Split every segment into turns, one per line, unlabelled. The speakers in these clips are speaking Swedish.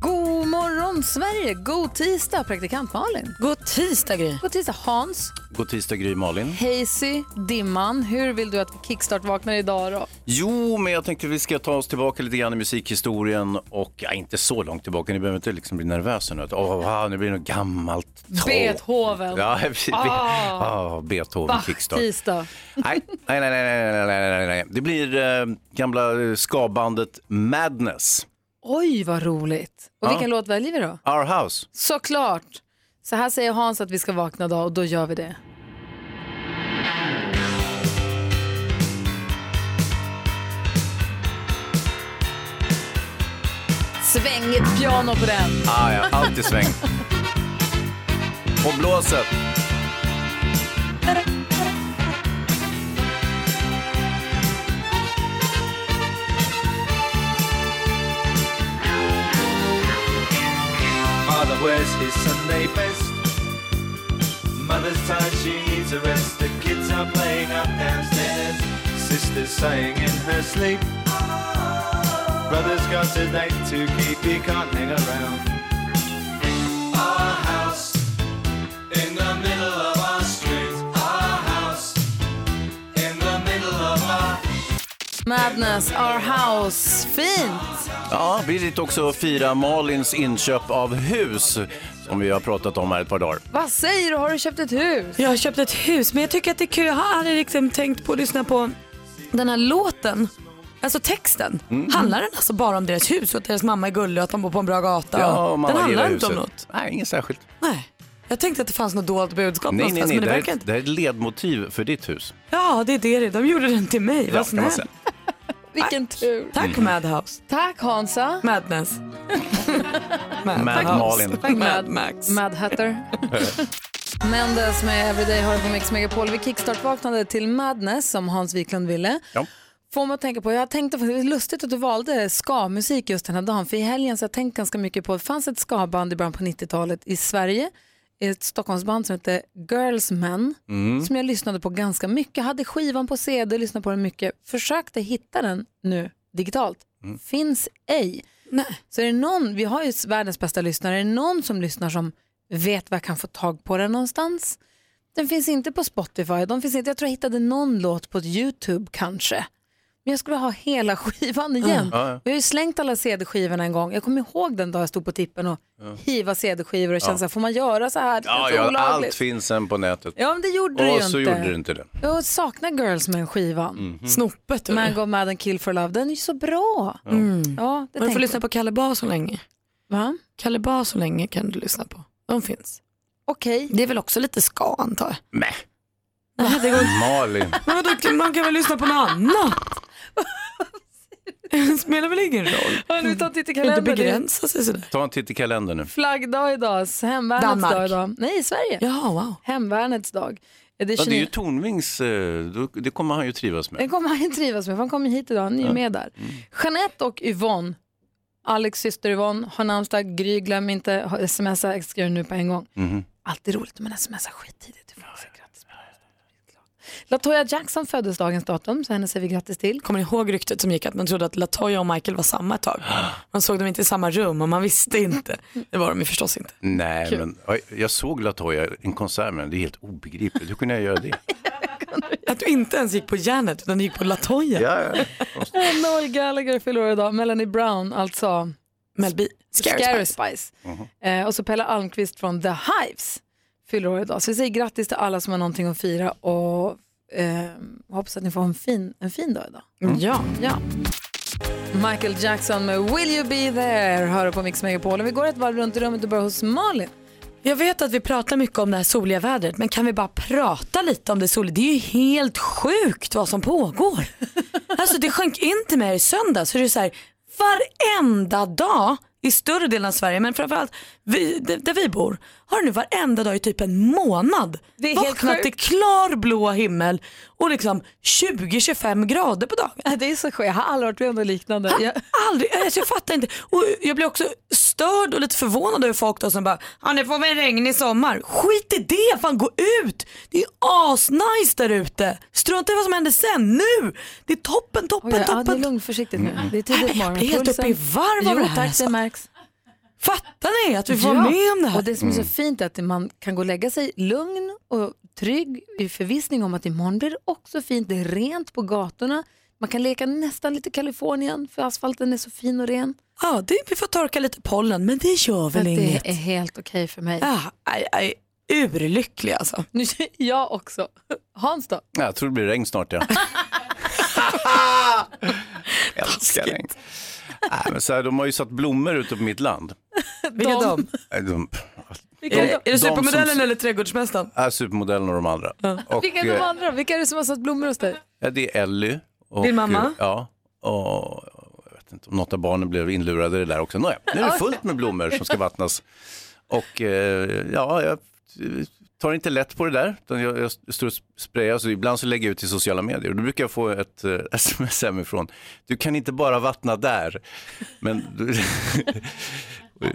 God morgon Sverige! God tisdag praktikant Malin.
God tisdag Gry.
God tisdag Hans.
God tisdag Gry Malin.
Hazy, Dimman. Hur vill du att Kickstart vaknar idag då?
Jo, men jag tänkte vi ska ta oss tillbaka lite grann i musikhistorien och ja, inte så långt tillbaka. Ni behöver inte liksom bli nervösa nu. Att, Åh, wow, nu blir det något gammalt. tråkigt.
Beethoven.
Ja, precis. Vi-
Ah.
Ah, Beethoven, Kickstart.
Bach-tisdag.
Nej, nej, nej, nej, nej, nej, nej, nej, nej. Det blir eh, gamla eh, skabandet Madness.
Oj, vad roligt. Och vilken låt väljer vi då?
Our House.
Såklart. Så här säger Hans att vi ska vakna idag och då gör vi det. Svängigt piano på den.
Ah, ja, allt i sväng. Och blåset.
Father wears his Sunday best. Mother's tired, she needs a rest. The kids are playing up downstairs. Sister's sighing in her sleep. Brother's got a date to keep, he can't hang around. Our house in the middle of our street. Our house in the middle of our.
Madness, Our House. Fint!
Ja, vi sitter också och firar Malins inköp av hus som vi har pratat om här ett par dagar.
Vad säger du? Har du köpt ett hus?
Jag har köpt ett hus men jag tycker att det är kul. Jag har aldrig liksom tänkt på att lyssna på den här låten. Alltså texten.
Mm.
Handlar den alltså bara om deras hus och att deras mamma är gullig och att de bor på en bra gata?
Ja, mamma
den handlar
gillar
inte om
huset.
något.
Nej, inget särskilt.
Nej. Jag tänkte att det fanns något dolt budskap
Nej, nej,
någonstans
nej.
men
Det
det
här,
verkar
är-
inte.
det här är ett ledmotiv för ditt hus.
Ja det är det det är. De gjorde den till mig.
Ja,
Vad
kan man
snäll.
säga.
Vilken tur. Mm.
Tack Madhouse.
Tack Hansa.
Madness. Madhouse.
Mad Malin.
Tack Mad Max.
Mad Hatter. Mendes med Everyday har du på Mix Megapol. Vi kickstart-vaknade till Madness som Hans Wiklund ville.
Ja.
Får man tänka på, jag tänkte, det är lustigt att du valde ska-musik just den här dagen, för i helgen så har jag tänkt ganska mycket på, det fanns ett ska-band i början på 90-talet i Sverige, ett Stockholmsband som hette Girls Men,
Mm.
som jag lyssnade på ganska mycket, Jag hade skivan på CD, lyssnade på den mycket, försökte hitta den nu digitalt,
Mm.
finns ej.
Nej.
Så är det någon, vi har ju världens bästa lyssnare, är det någon som lyssnar som vet var jag kan få tag på den någonstans? Den finns inte på Spotify, de finns inte, jag tror jag hittade någon låt på YouTube kanske. Men jag skulle ha hela skivan igen.
Ja, ja.
Jag har ju slängt alla CD-skivorna en gång. Jag kommer ihåg den dag jag stod på tippen och hiva CD-skivor och kände så här, får man göra så här? Det
Ja,
är så
ja,
olagligt.
allt finns sen på nätet.
Ja, men det gjorde du ju
Och
inte.
så gjorde du inte Mm. det. Mhm.
Jag saknar Girls med skivan.
Snoppet. du.
Man Go Mad and Kill for Love, den är ju så bra. Mm. Ja, det
Mm. Men du
tänkte
får lyssna på Kalle Bah så länge.
Va?
Kalle Bah så länge kan du lyssna på. De finns.
Okej.
Det är väl också lite ska antar jag.
Nej.
Nej, det går
Malin.
Men vadå, kan- man kan väl lyssna på något annat? Det spelar väl ingen roll?
Hörni, vi tar en titt i
Man kan inte
kalendern. Det är
begränsa sig sådär.
Ta en titt i kalendern nu.
Flaggdag idag, hemvärnets
Danmark.
dag idag. Nej, Sverige.
Ja, wow.
Hemvärnets dag. Är det
Ja, det är ju
29
Tornvings, eh, då- det kommer han ju trivas med.
Den kommer han trivas med, för han kommer hit idag. Han är ju med där.
Mm.
Jeanette och Yvonne, Alex syster Yvonne, har namnsdag. Gry, glöm inte. ha- Smsa, jag skriver nu på en gång.
Mm-hmm.
Alltid roligt om man smsar skittidigt. Du får också grattis på födelsedagen. Latoya Jackson föddes dagens datum, så henne säger vi grattis till.
Kommer ni ihåg ryktet som gick att man trodde att Latoya och Michael var samma ett tag? Man såg dem inte i samma rum och man visste inte. Det var de ju förstås inte.
Nej, men oj, jag såg Latoya i en konsert med henne. Det är helt obegripligt. Hur kunde jag göra det?
Att du inte ens gick på järnet utan du gick på Latoya.
Ja, ja.
Noel Oh Gallagher fyller år idag, Melanie Brown, alltså
Melby. Scary
Scary
Spice.
Spice.
Mhm.
Eh, och så Pelle Almqvist från The Hives fyller år idag. Så vi säger grattis till alla som har någonting att fira och eh, hoppas att ni får en fin, en fin dag idag.
Mm. Ja.
Ja. Michael Jackson med Will you be there hör du på Mix Megapol. Vi går ett varv runt i rummet och börjar hos Malin.
Jag vet att vi pratar mycket om det här soliga vädret men kan vi bara prata lite om det soliga? Det är ju helt sjukt vad som pågår. Alltså det sjönk in till mig i söndags. Så det är så här, varenda dag i större delen av Sverige men framförallt vi, där där vi bor har det nu varenda dag i typ en månad
Det är helt
vaknat till
sjukt.
klarblå himmel och liksom 20-25 grader på dagen. Äh,
Det är så skönt, jag har aldrig varit med om något liknande.
Aldrig, alltså jag fattar inte. Och jag blir också st- störd och lite förvånad över folk då som bara, ja det får väl regn i sommar. Skit i det, fan gå ut! Det är ju asnice där ute. Strunta i vad som händer sen, nu! Det är toppen, toppen,
Oj, ja, det är
toppen. Mm.
lugnt försiktigt nu. Det är tidigt på
Jag
morgonen.
blir helt uppe i
Pulsen-
varv av
liksom- Jo,
det här.
tack,
alltså.
det märks.
Fattar ni att vi får vara med om det
Och
här?
det som är
Mm.
så fint är att man kan gå och lägga sig lugn och trygg i förvissning om att imorgon blir det också fint. Det är rent på gatorna. Man kan leka nästan lite Kalifornien för asfalten är så fin och ren.
Ja, det, vi får torka lite pollen men det gör väl
det
inget.
är helt okej för mig.
Ja, aj, aj, urlycklig alltså.
Nu jag också. Hans då?
Ja, Jag tror det blir regn snart ja. Älskar regn. Nej, men så här, de har ju satt blommor ute på mitt land.
Vilka
De.
de?
Nej, De,
Är, det- är
De
det supermodellen
som-
eller trädgårdsmästaren?
är supermodellen och de andra. Och,
Vilka är de
eh,
andra? Vilka är det som har satt blommor hos dig?
Ja, det är Ellie. Och,
Din mamma?
eh, Ja. Och, jag vet inte om något av barnen blev inlurade i det där också. Nåja, nu är det fullt med blommor som ska vattnas. Och eh, ja, jag tar inte lätt på det där. Utan jag, jag står och sprayar, så ibland så lägger jag ut i sociala medier. Och då brukar jag få ett eh, sms hemifrån. Du kan inte bara vattna där. Men...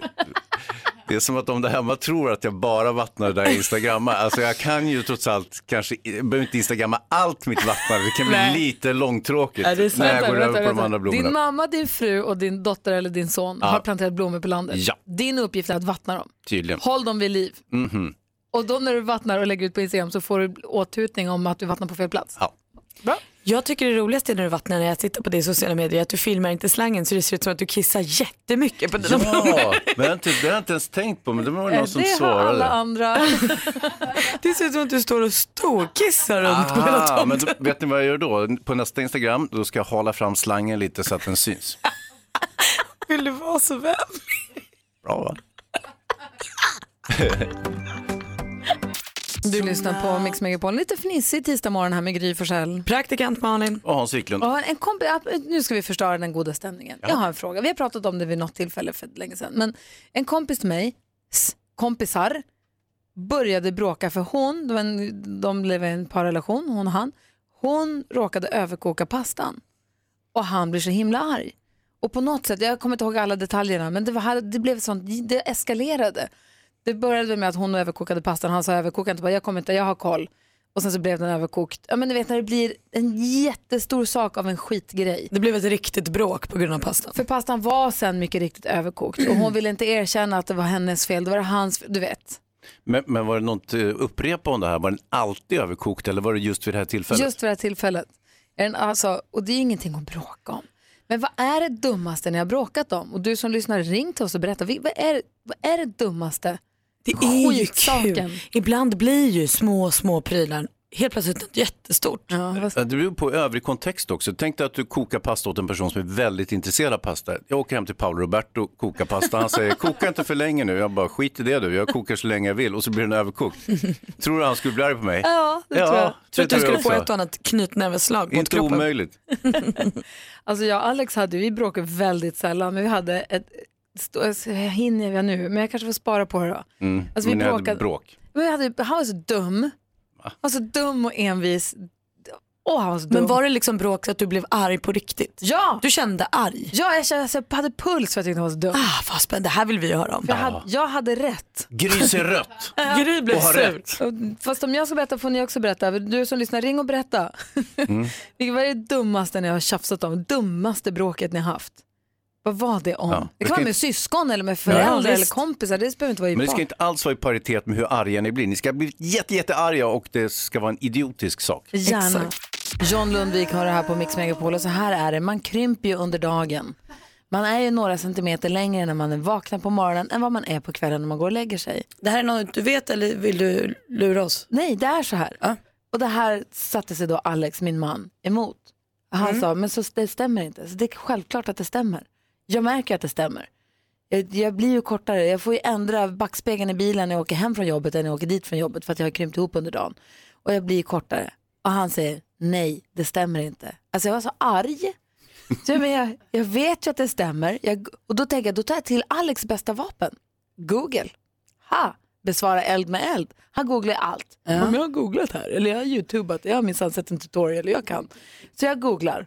Det är som att de där hemma tror att jag bara vattnar där jag instagrammar. Alltså jag kan ju trots allt kanske, jag behöver inte instagramma allt mitt vattnande. Det kan bli
Nej.
lite långtråkigt
Ja, det är sant.
när jag
Vänta,
går
vänta,
över på de
vänta.
andra blommorna.
Din mamma, din fru och din dotter eller din son har planterat blommor på landet.
Ja.
Din uppgift är att vattna dem.
Tydligen.
Håll dem vid liv.
Mhm.
Och då när du vattnar och lägger ut på Instagram så får du åthutning om att du vattnar på fel plats.
Ja.
Jag tycker det roligaste när du vattnar när jag tittar på det i sociala medier är att du filmar inte slangen så det ser ut som att du kissar jättemycket på dina
Ja, men jag har inte, det har jag inte ens tänkt på, men det var
Eh,
någon som
det har alla
svarade.
andra.
Det ser ut som att du står och storkissar runt på hela
Ah,
tomten.
men då, vet ni vad jag gör då? På nästa Instagram, då ska jag hala fram slangen lite så att den syns.
Vill du vara så vän?
Bra va?
Du lyssnar på Mix Megapol. Lite fnissig tisdag morgon här med Gry Forssell.
Praktikant Malin.
Och Hans Wiklund.
Jag har En kombi- ja, nu ska vi förstöra den goda stämningen. Jag har en fråga. Vi har pratat om det vid något tillfälle för länge sedan. Men en kompis till mig, s- kompisar, började bråka för hon, det var en- de blev i en parrelation, hon och han. Hon råkade överkoka pastan och han blir så himla arg. Och på något sätt, jag kommer inte ihåg alla detaljerna, men det, var, här- det blev sånt, det eskalerade. Det började med att hon överkokade pastan, han sa överkoka inte, bara, jag kommer inte, jag har koll. Och sen så blev den överkokt. Ja men du vet när det blir en jättestor sak av en skitgrej.
Det blev ett riktigt bråk på grund av pastan.
För pastan var sen mycket riktigt överkokt och hon ville inte erkänna att det var hennes fel, det var hans fel, du vet.
Men, men var det något eh, upprepa om det här? Var den alltid överkokt eller var det just vid det här tillfället?
Just för det här tillfället. Är den Alltså, och det är ingenting att bråka om. Men vad är det dummaste ni har bråkat om? Och du som lyssnar, ring till oss och berätta. Vi- Vad är, det- vad är det dummaste?
Det är ju
Skitsaken.
kul. Ibland blir ju små, små prylar helt plötsligt något jättestort.
Ja, vad-
Ja, Det beror på övrig kontext också. Tänk dig att du kokar pasta åt en person som är väldigt intresserad av pasta. Jag åker hem till Paolo Roberto och kokar pasta. Han säger, koka inte för länge nu. Jag bara, skit i det du. Jag kokar så länge jag vill och så blir den överkokt. Tror du han skulle bli arg på mig?
ja det tror jag.
Tror att du skulle få
också.
ett och annat knytnäveslag mot
Inte
kroppen.
omöjligt.
Alltså jag och Alex hade, vi bråkade väldigt sällan, men vi hade ett, stå- alltså, jag hinner jag nu, men jag kanske får spara på det då.
Mm.
Alltså, vi
Men ni hade
bråkade-
bråk.
Men vi hade, han var så dum, han var så dum och envis. Åh, han var så dum.
Men var det liksom bråk så att du blev arg på riktigt?
Ja,
Du kände arg?
ja jag, kände, alltså, jag hade puls för jag tyckte han var så dum.
Ah, vad spännande, det här vill vi höra om.
Jag hade, jag hade rätt.
Gris är rött.
Gry blev
Och har
sur.
rätt.
Och- Fast om jag ska berätta får ni också berätta. Du som lyssnar, ring och berätta.
Mm.
Vilket var det dummaste ni har tjafsat om? Dummaste bråket ni har haft? Vad var det om?
Ja,
det
det
kan
ska
vara med
inte-
syskon eller med föräldrar
Ja,
eller
visst.
kompisar. Det behöver inte vara i
Men det ska
barn.
inte alls vara i paritet med hur arga ni blir. Ni ska bli jätte, jättearga och det ska vara en idiotisk sak.
Gärna.
Exakt.
John Lundvik har det här på Mix Megapol och så här är det, man krymper ju under dagen. Man är ju några centimeter längre när man vaknar på morgonen än vad man är på kvällen när man går och lägger sig.
Det här är något du vet eller vill du lura oss?
Nej, det är så här.
Ja.
Och det här satte sig då Alex, min man, emot. Han
Mm.
sa, men så det stämmer inte. Så det är självklart att det stämmer. Jag märker att det stämmer. Jag, jag blir ju kortare. Jag får ju ändra backspegeln i bilen när jag åker hem från jobbet än när jag åker dit från jobbet för att jag har krympt ihop under dagen. Och jag blir kortare. Och han säger, nej, det stämmer inte. Alltså jag var så arg. Så jag, men jag, jag vet ju att det stämmer. Jag, och då tänker jag, då tar jag till Alex bästa vapen. Google. Ha! Besvara eld med eld. Han googlar allt. Om jag har googlat här, eller jag har youtubat, jag har minsann sett en tutorial, jag kan. Så jag googlar.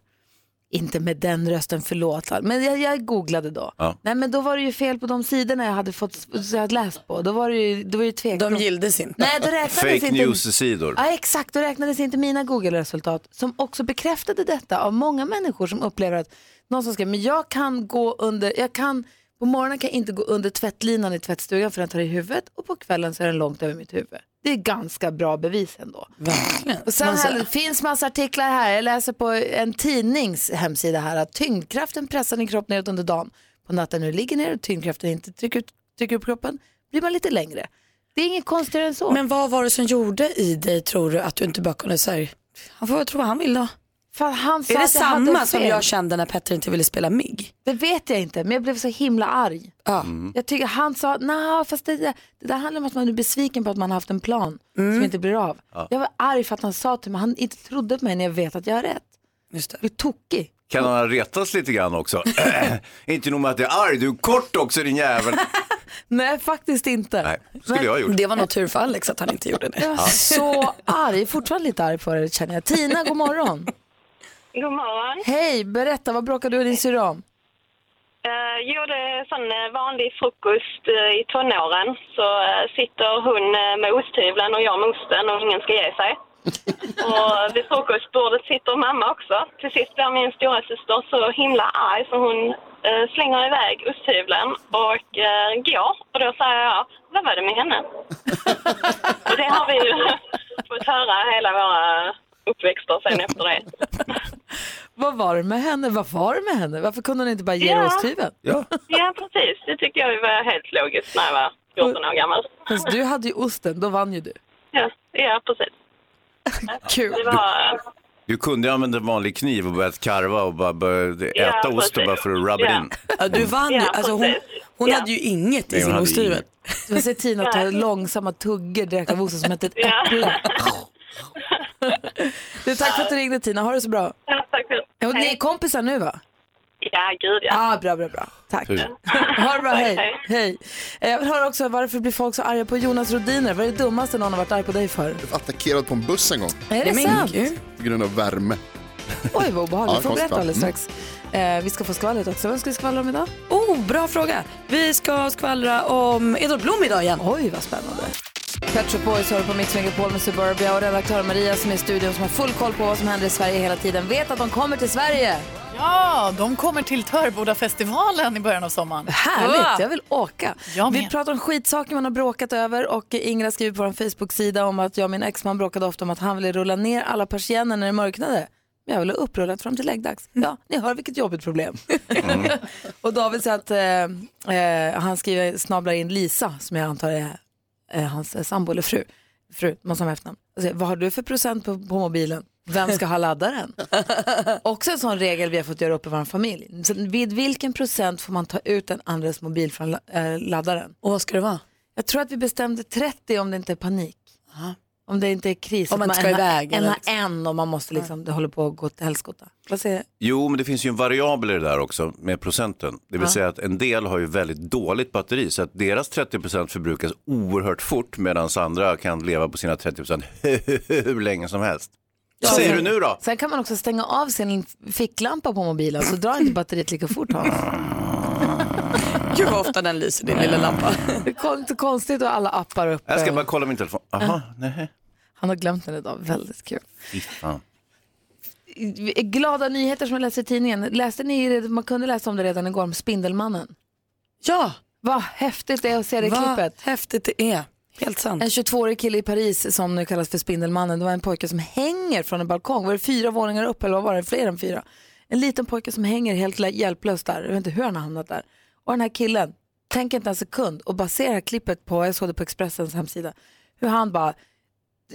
Inte med den rösten, förlåt. Men jag, jag googlade då.
Ja.
Nej men då var det ju fel på de sidorna jag hade fått, jag hade läst på. Då var det ju, då var det ju tveksamt.
De gilldes inte.
Nej, då räknades
Fake
inte.
news-sidor.
Ja, exakt. Då räknades inte mina Google-resultat som också bekräftade detta av många människor som upplever att någon som skrev, men jag kan gå under, jag kan, på morgonen kan jag inte gå under tvättlinan i tvättstugan för den tar i huvudet och på kvällen så är den långt över mitt huvud. Det är ganska bra bevis ändå.
Verkligen.
Och sen här, det finns massa artiklar här. Jag läser på en tidnings hemsida här att tyngdkraften pressar din kropp neråt under dagen. På natten när du ligger ner och tyngdkraften inte trycker, ut- trycker upp kroppen blir man lite längre. Det är inget konstigare än så.
Men vad var det som gjorde i dig tror du att du inte bara kunde säga, han får väl tro vad han vill då.
Fan, han sa
Är det
att jag hade
samma
fel.
som jag kände när Petter inte ville spela MIG?
Det vet jag inte, men jag blev så himla arg.
Ja.
Mm.
Jag tycker han sa, nej fast det, där- det där handlar om att man är besviken på att man har haft en plan
Mm.
som inte blir av. Jag var arg för att han sa till mig, han inte trodde på mig när jag vet att jag har rätt.
Just det.
Jag blev tokig.
Kan han ha retats lite grann också? inte nog med att jag är arg, du är kort också din jävel.
Nej faktiskt inte.
Nej, skulle jag ha gjort.
Det var nog tur för Alex att han inte gjorde det.
Jag var så arg, fortfarande lite arg på det känner jag. Tina, god morgon.
God morgon.
Hej, berätta vad bråkade du och din syrra om?
Eh, gjorde sån eh, vanlig frukost eh, i tonåren. Så eh, sitter hon eh, med osthyveln och jag med osten och ingen ska ge sig. och vid frukostbordet sitter mamma också. Till sist blir min stora syster så himla arg så hon eh, slänger iväg osthyveln och eh, går. Och då säger jag, vad var det med henne? och det har vi ju fått höra hela våra uppväxter sen efter det.
Vad var det med henne? Vad var det med henne? Varför kunde hon inte bara ge
Ja.
osthyveln?
Ja.
Ja, precis. Det tyckte jag var helt logiskt när jag var 14 år gammal.
Fast du hade ju osten, då vann ju du.
Ja, ja precis.
Kul.
Det var...
Du kunde ju använda en vanlig kniv och börjat karva och bara började äta
precis.
ost och bara för att rubba
Ja.
it in.
Ja, du vann ju.
Ja,
Alltså, hon
precis.
hon
Ja.
hade ju inget i
Nej, hon
sin
hade
osthyvel.
inget.
Jag ser Tina ta långsamma tuggor direkt av osten som ett äpple. Du, tack för att du ringde Tina, ha det så bra.
Ja, tack själv.
Och ni är
Hej.
kompisar nu va?
Ja, gud ja.
Ja, ah, bra, bra, bra. Tack.
Tur.
Ha det bra, hej.
Hej.
hej. Eh, Jag vill höra också varför blir folk så arga på Jonas Rodiner? Vad är det dummaste någon har varit arg på dig för?
attackerad på en buss en gång
Är det
Nej, men
sant?
gud.
på grund av värme.
Oj, vad obehagligt.
Ja,
Vi får
konstigt,
berätta
va?
alldeles strax. Eh, vi ska få skvallret också. Vem ska vi skvallra om idag?
Oh, bra fråga. Vi ska skvallra om Edvard Blom idag igen. Mm.
Oj, vad spännande. Pet Shop Boys hör på Mix Megapol med Suburbia och redaktör Maria som är i studion som har full koll på vad som händer i Sverige hela tiden vet att de kommer till Sverige.
Ja, de kommer till Törboda-festivalen i början av sommaren.
Härligt,
Ja.
jag vill åka.
Jag
vi
med.
pratar om skitsaker man har bråkat över och Ingrid skriver på vår Facebook-sida om att jag och min exman bråkade ofta om att han ville rulla ner alla persienner när det mörknade. Men jag ville ha upprullat fram till läggdags. Ja, ni hör vilket jobbigt problem. och David säger att eh, eh, han skriver, snablar in Lisa som jag antar är eh, hans eh, sambo eller fru. Fru, måste ha efternamn. Och säger, Vad har du för procent på, på mobilen? Vem ska ha laddaren? Också en sån regel vi har fått göra upp i vår familj. Så vid vilken procent får man ta ut den andres mobil från la- eh, laddaren?
Och vad ska det vara?
Jag tror att vi bestämde 30 om det inte är panik. Om det inte är kris.
Om
att
man inte
en
ska
har-
iväg
En
eller
har en och man måste liksom, det håller på att gå till helskotta. Vad säger
Jo, men det finns ju en variabel i det där också med procenten. Det vill säga att en del har ju väldigt dåligt batteri så att deras 30 förbrukas oerhört fort medan andra kan leva på sina 30 hur länge som helst. Vad säger du nu då?
Sen kan man också stänga av sin ficklampa på mobilen så drar inte batteriet lika fort Hans.
Gud vad ofta den lyser din lilla lampa.
Det är kon- så konstigt och alla appar uppe. Eh.
Jag ska bara kolla min telefon. Aha, nej.
Han har glömt den idag, väldigt kul.
Fy fan.
Eh, Glada nyheter som jag läste i tidningen. Läste ni, man kunde läsa om det redan igår, om Spindelmannen.
Ja,
Vad häftigt det är att se det
vad
klippet.
häftigt det är. Helt sant.
En 22-årig kille i Paris som nu kallas för Spindelmannen. Det var en pojke som hänger från en balkong. Var det fyra våningar upp eller vad var det? Fler än fyra. En liten pojke som hänger helt lä- hjälplös där. Jag vet inte hur han har hamnat där. Och den här killen, tänker inte en sekund och baserar klippet på, jag såg det på Expressens hemsida, hur han bara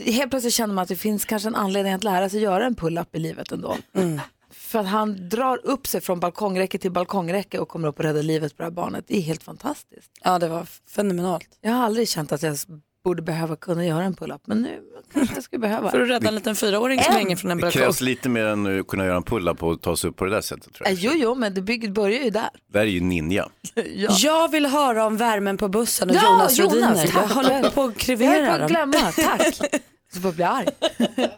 Helt plötsligt känner man att det finns kanske en anledning att lära sig göra en pull-up i livet ändå.
Mm.
För att han drar upp sig från balkongräcke till balkongräcke och kommer upp och räddar livet på det här barnet. Det är helt fantastiskt.
Ja, det var fenomenalt.
Jag har aldrig känt att jag borde behöva kunna göra en pull-up, men nu kanske jag skulle behöva.
För att rädda en liten fyraåring som hänger från en
Det
balkong.
krävs lite mer än att kunna göra en pull-up och ta sig upp på det där sättet. Tror
Äh,
jag.
Jo, jo, men det bygger, börjar ju där.
Det här är ju ninja.
Ja.
Jag vill höra om värmen på bussen och
Ja,
Jonas Rhodiner.
Jonas,
Jag
tack.
håller på att
Jag höll på
krevera
att
dem.
glömma, tack. Så bara blir jag arg.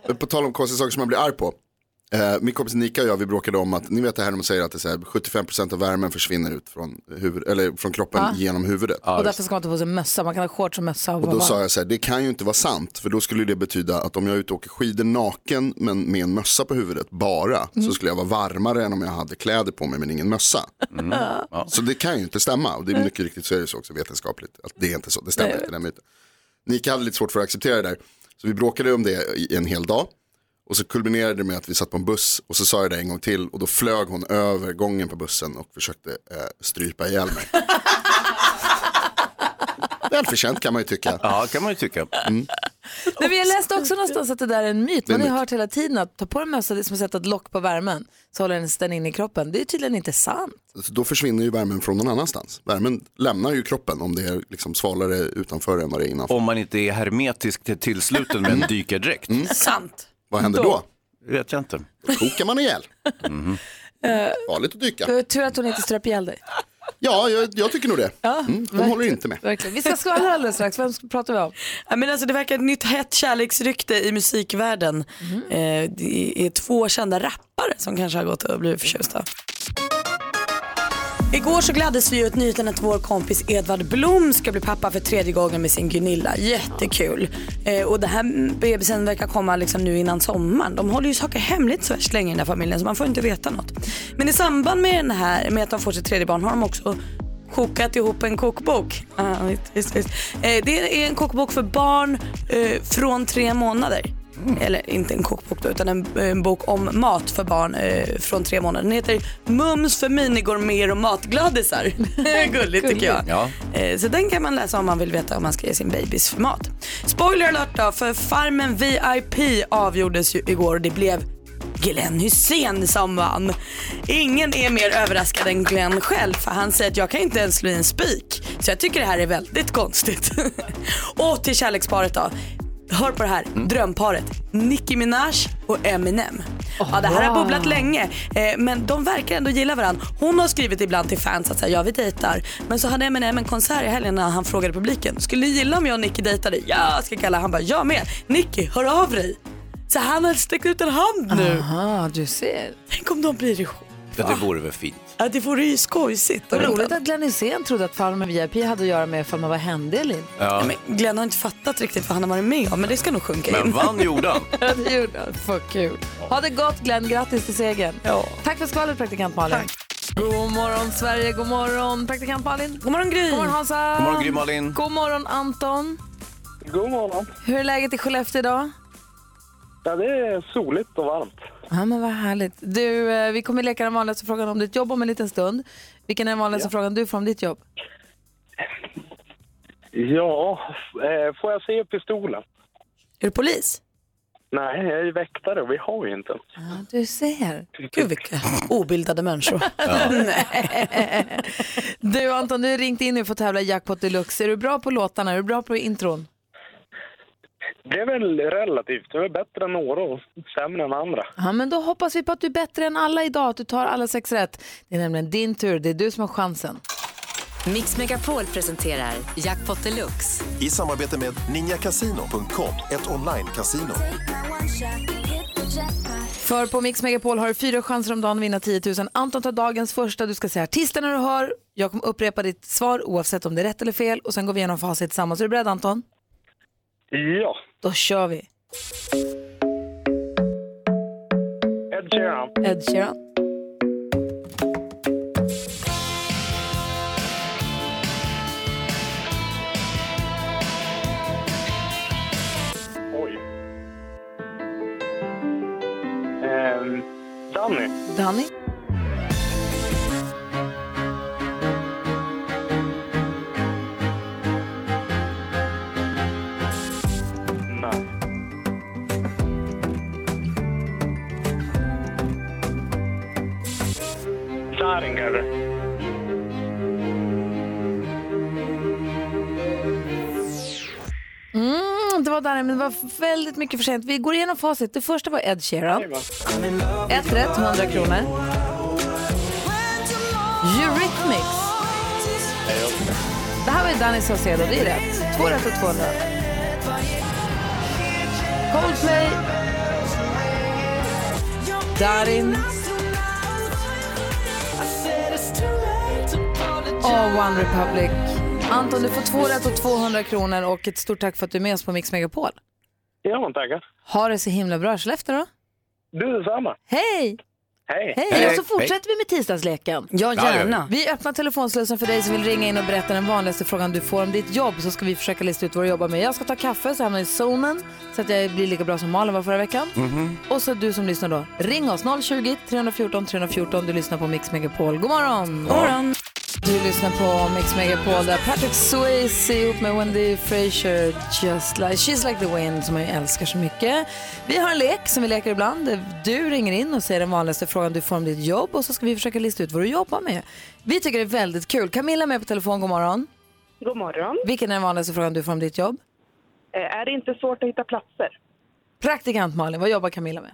Eh, På tal om konstiga saker som man blir arg på. Eh, min kompis Nika och jag, vi bråkade om att, ni vet det här när man säger att det är så här, 75% av värmen försvinner ut från, huvud, eller från kroppen genom huvudet.
och därför ska man inte ha på sig mössa, man kan ha shorts och mössa. Och
Och
vara
då
varm.
sa jag så här, det kan ju inte vara sant, för då skulle det betyda att om jag är ute och åker skidor naken men med en mössa på huvudet bara,
Mm.
så skulle jag vara varmare än om jag hade kläder på mig men ingen mössa.
Mm.
Så det kan ju inte stämma, och det är mycket riktigt så är det så också vetenskapligt, att det är inte så, det stämmer inte den myten. Nika hade lite svårt för att acceptera det där, så vi bråkade om det i en hel dag. Och så kulminerade det med att vi satt på en buss och så sa jag det en gång till och då flög hon över gången på bussen och försökte eh, strypa ihjäl mig. Välförtjänt kan man ju tycka. Mm.
Ja, kan man ju tycka.
Nej, men jag läste också någonstans att det där är en myt. Man har
Det är
ju
en myt.
hört hela tiden att ta på dig mössa det är som att sätta ett lock på värmen så håller den den in i kroppen. Det är tydligen inte sant.
Så då försvinner ju värmen från någon annanstans. Värmen lämnar ju kroppen om det är liksom svalare utanför än vad det är innanför.
Om man inte är hermetiskt till- tillsluten med en dykardräkt.
Sant.
Mm. vad händer då?
Det vet jag inte.
Då kokar man ihjäl. Farligt att Eh, dyka.
Det var tur att hon inte ströp ihjäl dig.
Ja, jag, jag tycker nog det. Mm, de håller inte med.
Verkligen. Vi ska skvallra alldeles strax. Vem ska- pratar vi om?
Ja, men alltså, det verkar ett nytt hett kärleksrykte i musikvärlden. Eh, det är två kända rappare som kanske har gått och blivit förtjusta. Igår så gladdes vi ju åt nyheten att vår kompis Edvard Blom ska bli pappa för tredje gången med sin Gunilla. Jättekul. Eh, och det här bebisen verkar komma liksom nu innan sommaren. De håller ju saker hemligt så värst länge i den här familjen så man får inte veta något. Men i samband med, den här, med att de får sitt tredje barn har de också kokat ihop en kokbok. Ah, visst, visst, visst. Eh, det är en kokbok för barn eh, från tre månader. Eller inte en kokbok då, utan en, en bok om mat för barn eh, från tre månader. Den heter Mums för minigourmeter och matgladisar. Gulligt tycker jag.
Ja.
Eh, Så den kan man läsa om man vill veta om man ska ge sin babys för mat. Spoiler alert då, för Farmen VIP avgjordes ju igår och det blev Glenn Hussein som vann. Ingen är mer överraskad än Glenn själv för han säger att jag kan inte ens slå i en spik. Så jag tycker det här är väldigt konstigt. och till kärleksparet då. Hör på det här, drömparet. Nicki Minaj och Eminem. ja, det här har bubblat länge eh, men de verkar ändå gilla varandra. Hon har skrivit ibland till fans att säga, ja vi dejtar. Men så hade Eminem en konsert i helgen när han frågade publiken, skulle ni gilla om jag och Nicki dejtade? Ja, ska kalla. Han bara, jag med. Nicki, hör av dig. Så han har sträckt ut en hand nu.
Aha, Ah. du ser.
Tänk om de blir ihop.
Ja, det vore väl fint.
Ja, det vore ju skojsigt.
Vad roligt att Glenn Hysén trodde att Farmen VIP hade att göra med ifall man var händig eller inte.
Ja, men Glenn har inte fattat riktigt vad han har varit med om, men det ska nog sjunka
Men
in.
vann gjorde han.
Ja, det gjorde han. Vad kul. Ha det gott Glenn, grattis till segern.
Ja.
Tack för skvallret praktikant Malin. God morgon Sverige, god morgon praktikant Malin.
God morgon Gry.
God morgon Hansa.
God morgon, Gry Malin.
God morgon Anton.
God morgon.
Hur är läget i Skellefteå idag?
Ja, det är soligt och varmt.
Ja men vad härligt. Du, eh, vi kommer leka den vanligaste frågan om ditt jobb om en liten stund. Vilken är den vanligaste frågan du får om ditt jobb?
Ja, eh, får jag se pistolen?
Är du polis?
Nej, jag är ju väktare och vi har ju inte. en.
Ja, du ser.
Gud vilka obildade människor.
Du Anton, du har ringt in nu för att tävla i Jackpot Deluxe. Är du bra på låtarna? Är du bra på intron?
Det är väl relativt. Det är väl bättre än några och sämre än andra.
Ja, men då hoppas vi på att du är bättre än alla idag, att du tar alla sex rätt. Det är nämligen din tur, det är du som har chansen.
Mix Megapol presenterar Jackpot Deluxe.
I samarbete med ninjakasino.com, ett online-casino.
För på Mix Megapol har du fyra chanser om dagen att vinna 10 000. Anton tar dagens första, du ska säga artisten när du hör. Jag kommer upprepa ditt svar oavsett om det är rätt eller fel och sen går vi igenom facit tillsammans. Är du beredd Anton?
Ja,
Då kör vi.
Ed Sheeran.
Ed Sheeran,
Oj. Eh, Danny.
Danny,
Nej. Saaringer.
Mm, det var där, men det var väldigt mycket för sent. Vi går igenom facit. Det första var Ed Sheeran. Ett rätt, 100 kronor. Eurythmics. Det här var ju Danny Saucedo, det är rätt. Två rätt och 200. Coldplay. Darin. Åh, One Republic. Anton, du får två rätt och 200 kronor och ett stort tack för att du är med oss på Mix Megapol.
Ja, men tackar.
Ha det så himla bra. Skellefteå då?
Du detsamma.
Hej!
Hej.
Hej! och så fortsätter vi med tisdagsleken.
Ja,
Ja, det gör gärna.
Vi öppnar telefonslussen för dig som vill ringa in och berätta den vanligaste frågan du får om ditt jobb så ska vi försöka lista ut vad du jobbar med. Jag ska ta kaffe så jag hamnar i zonen så att jag blir lika bra som Malin var förra veckan.
Mhm.
Och så du som lyssnar då, ring oss 020-314 314. Du lyssnar på Mix Megapol. God morgon!
God morgon.
Du lyssnar på Mix Megapol där Patrick Swayze är ihop med Wendy Frazier, Just like, She's like the wind som jag älskar så mycket. Vi har en lek som vi leker ibland. där Du ringer in och säger den vanligaste frågan du får om ditt jobb och så ska vi försöka lista ut vad du jobbar med. Vi tycker det är väldigt kul. Camilla är med på telefon, god morgon.
God morgon.
Vilken är den vanligaste frågan du får om ditt jobb?
Eh, Är det inte svårt att hitta platser?
Praktikant Malin, vad jobbar Camilla med?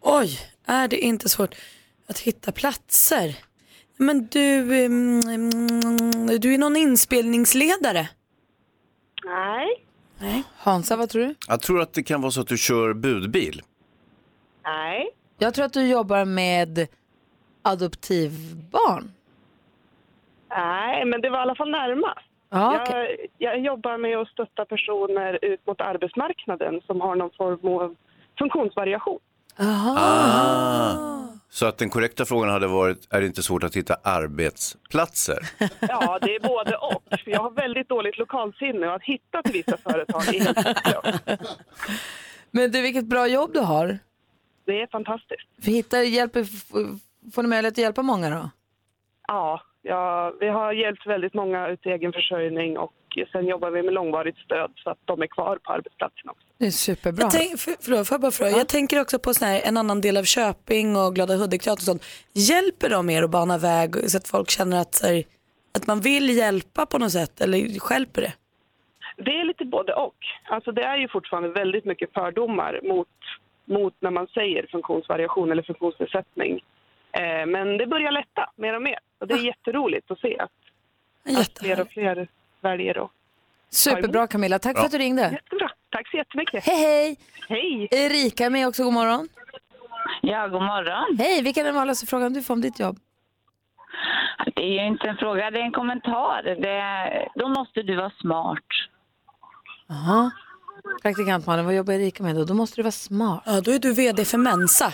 Oj, är det inte svårt att hitta platser? Men du, mm, mm, du är någon inspelningsledare?
Nej.
Nej.
Hansa, vad tror du?
Jag tror att det kan vara så att du kör budbil.
Nej.
Jag tror att du jobbar med adoptivbarn.
Nej, men det var i alla fall närmast.
Ja,
jag, jag jobbar med att stötta personer ut mot arbetsmarknaden som har någon form av funktionsvariation.
Ah. Så att den korrekta frågan hade varit, är det inte svårt att hitta arbetsplatser?
Ja, det är både och. För jag har väldigt dåligt lokalsinne och att hitta till vissa företag är helt
Men du, vilket bra jobb du har.
Det är fantastiskt.
För hittar, hjälper, f- får ni möjlighet att hjälpa många då?
Ja, ja, vi har hjälpt väldigt många ut i egen försörjning och sen jobbar vi med långvarigt stöd så att de är kvar på arbetsplatsen också.
Det är superbra.
Jag, tänk, för, förlåt, får jag, bara fråga? jag tänker också på sån här, en annan del av Köping och Glada Hudik-teatern och sånt. Hjälper de er att bana väg så att folk känner att, så här, att man vill hjälpa på något sätt eller stjälper det?
Det är lite både och. Alltså det är ju fortfarande väldigt mycket fördomar mot, mot när man säger funktionsvariation eller funktionsnedsättning. Eh, men det börjar lätta mer och mer och det är jätteroligt att se att, att fler och fler väljer att
Superbra Camilla, tack för att du ringde.
Jättebra. Tack så jättemycket.
Hej hej!
Hej!
Erika är med också, god morgon.
Ja, god morgon.
Hej, vilken är den vanligaste frågan du får om ditt jobb?
Det är ju inte en fråga, det är en kommentar. Det, då måste du vara smart.
Aha. Praktikantmannen, vad jobbar Erika med då? Då måste du vara smart.
Ja, då är du vd för Mensa.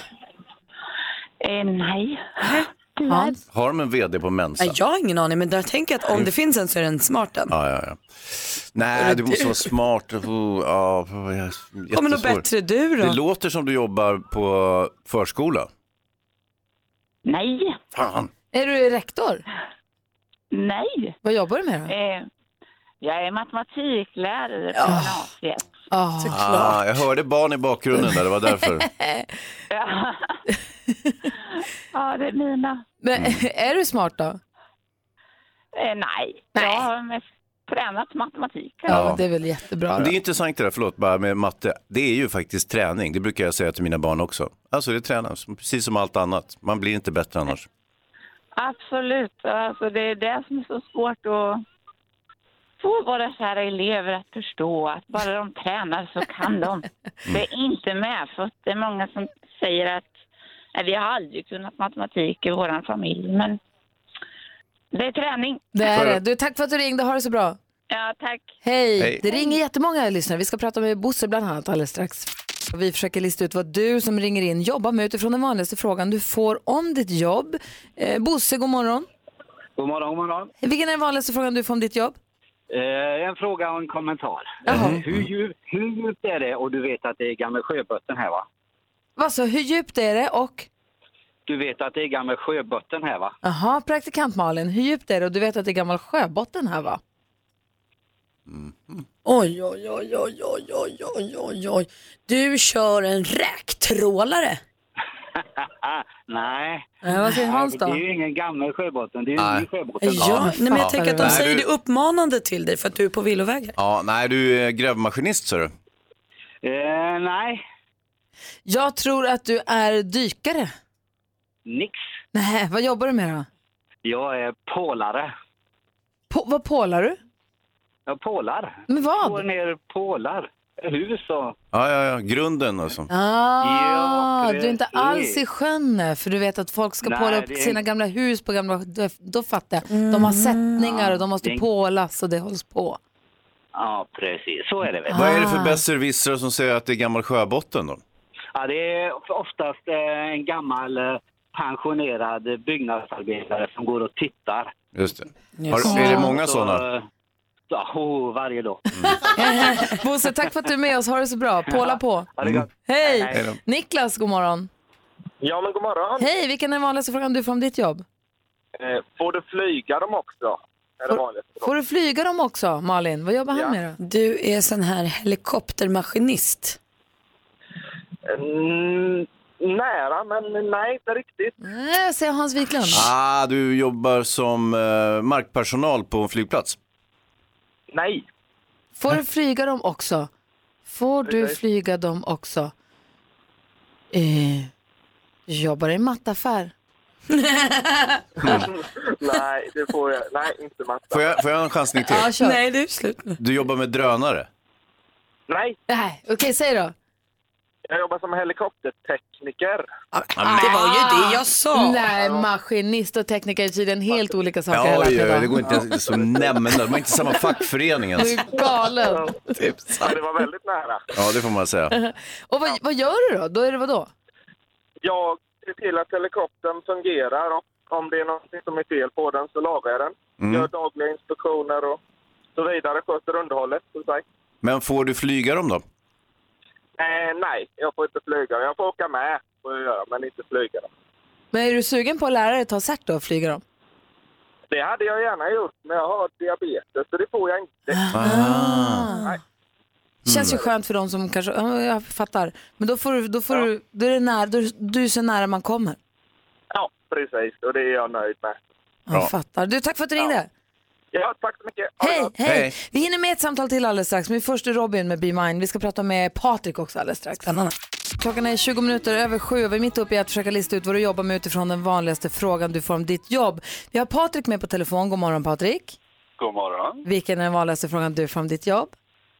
Eh, nej.
Äh, Hans?
Har de en vd på Mensa?
Nej, jag har ingen aning, men jag tänker att om det finns en så är den smart en.
Ja, ja, ja. Nej, du måste vara smart. Oh, ja, jättesvår.
Kommer något bättre du då?
Det låter som du jobbar på förskola.
Nej.
Fan.
Är du rektor?
Nej.
Vad jobbar du med då?
Eh, jag är matematiklärare på gymnasiet.
Ah, jag hörde barn i bakgrunden där, det var därför.
Ja. ja, det är mina.
Men är du smart då?
Eh, nej. jag har mest tränat matematik.
Ja, det är väl jättebra.
Men
Då.
Det är intressant det där, förlåt, bara med matte. Det är ju faktiskt träning, det brukar jag säga till mina barn också. Alltså det tränas, precis som allt annat. Man blir inte bättre annars.
Absolut. Alltså, det är det som är så svårt att få våra kära elever att förstå att bara de tränar så kan de. Det är inte medfött. Det är många som säger att nej, vi har aldrig kunnat matematik i vår familj, men det är träning.
Det är det. Du, tack för att du ringde, ha det så bra.
Ja, tack.
Hej.
Hej.
Det ringer jättemånga lyssnare. Vi ska prata med Bosse bland annat alldeles strax. Och Vi försöker lista ut vad du som ringer in jobbar med utifrån den vanligaste frågan du får om ditt jobb. Eh, Bosse, god morgon.
God morgon, god morgon.
Vilken är den vanligaste frågan du får om ditt jobb?
Eh, en fråga och en kommentar. Eh, Hur, djup, hur djupt är det? Och du vet att det är gamla sjöbotten här va?
Alltså, hur djupt är det och?
Du vet att det är gamla sjöbotten här va?
Jaha, praktikant Malin, hur djupt är det? Och du vet att det är gammal sjöbotten här va?
Mm.
Oj, oj, oj, oj, oj, oj, oj, oj, oj. Du kör en räktrålare.
Nej.
Eh, vad säger Hans då?
Det är ju ingen gammal sjöbotten, det är ju
Nej.
en ny sjöbotten.
Ja, nej, men jag tänker att de
Nej,
säger
du-
det uppmanande till dig för att du är på villovägar.
Ja, nej, du är grävmaskinist, så du.
Eh, nej,
Jag tror att du är dykare.
nix.
Nej, vad jobbar du med då?
Jag är pålare.
På, vad pålar du?
Jag pålar.
Men vad?
Går ner pålar. hus och...
Ja, ja, ja. Grunden alltså.
Ah,
Ja,
du är inte
precis.
alls i sjön nu, för du vet att folk ska
Nej,
påla upp
det är-
sina gamla hus på gamla... Då, då fattar jag. De
Mm.
har sättningar och de måste pålas och det hålls på.
Ja, precis. Så är det väl.
Vad är det
Ah.
för besserwissrar som säger att det är gammal sjöbotten då?
Ja, det är oftast eh, en gammal eh, pensionerad byggnadsarbetare som går och tittar.
Just det. Har, är det många Mm.
Så,
sådana?
eh, Ja, oh, varje dag.
Bosse, tack för att du är med oss. Ha det så bra. Påla på.
Mm.
Hej!
Hej då.
Niklas, god morgon.
Ja, men god morgon.
Hej, vilken är den vanligaste frågan du får om ditt jobb?
Eh, får du flyga dem också? Är det vanligt?
Får du flyga dem också, Malin? Vad jobbar han med då?
Du är sån här helikoptermaskinist.
Mm, nära, men nej, inte riktigt.
Nej, Eh, säger Hans Wiklund.
Ah, du jobbar som eh, markpersonal på en flygplats.
Nej.
Får du flyga dem också? Får du flyga dem också? Eh, jobbar i en mattaffär?
nej, det får jag. Nej, inte matta.
Får jag, får jag en chansning till?
Ja, kör. Nej,
det är slut nu.
Du jobbar med drönare.
Nej.
Nej, okej, säg då.
Jag jobbar som helikoptertekniker.
Ah, Det var
ju det jag sa.
Nej, maskinist och tekniker är tydligen helt olika saker.
Ja,
hela
oj,
tiden.
oj, det går inte ens att nämna. De är inte samma fackförening
Du
ens.
är typ galen.
det var väldigt nära.
Ja, det får man säga.
och vad, vad gör du då? Då är det vad då?
Jag ser till att helikoptern fungerar och om det är något som är fel på den så lagar jag den.
Mm.
Gör dagliga inspektioner och så vidare. Sköter underhållet, så att säga.
Men får du flyga dem då?
Eh, nej, jag får inte flyga. Jag får åka med, får jag göra, men inte flyga.
Men är du sugen på att lära dig ta cert då och flyga dem?
Det hade jag gärna gjort, men jag har diabetes, så det får jag inte. Nej.
Ah.
Mm.
Känns ju skönt för de som kanske, ja, jag fattar. Men då får du, då får du, då är det nära, då, du är så nära man kommer.
Ja, precis. Och det är jag nöjd med.
Jag fattar. Du, tack för att du ringde.
Ja, tack så mycket.
Hej, hej,
Hej.
Vi hinner med ett samtal till alldeles strax, men först är Robin med Be Mine. Vi ska prata med Patrik också alldeles strax. Klockan är 20 minuter över sju och vi är mitt uppe i att försöka lista ut vad du jobbar med utifrån den vanligaste frågan du får om ditt jobb. Vi har Patrik med på telefon. God morgon Patrik.
God morgon.
Vilken är den vanligaste frågan du får om ditt jobb?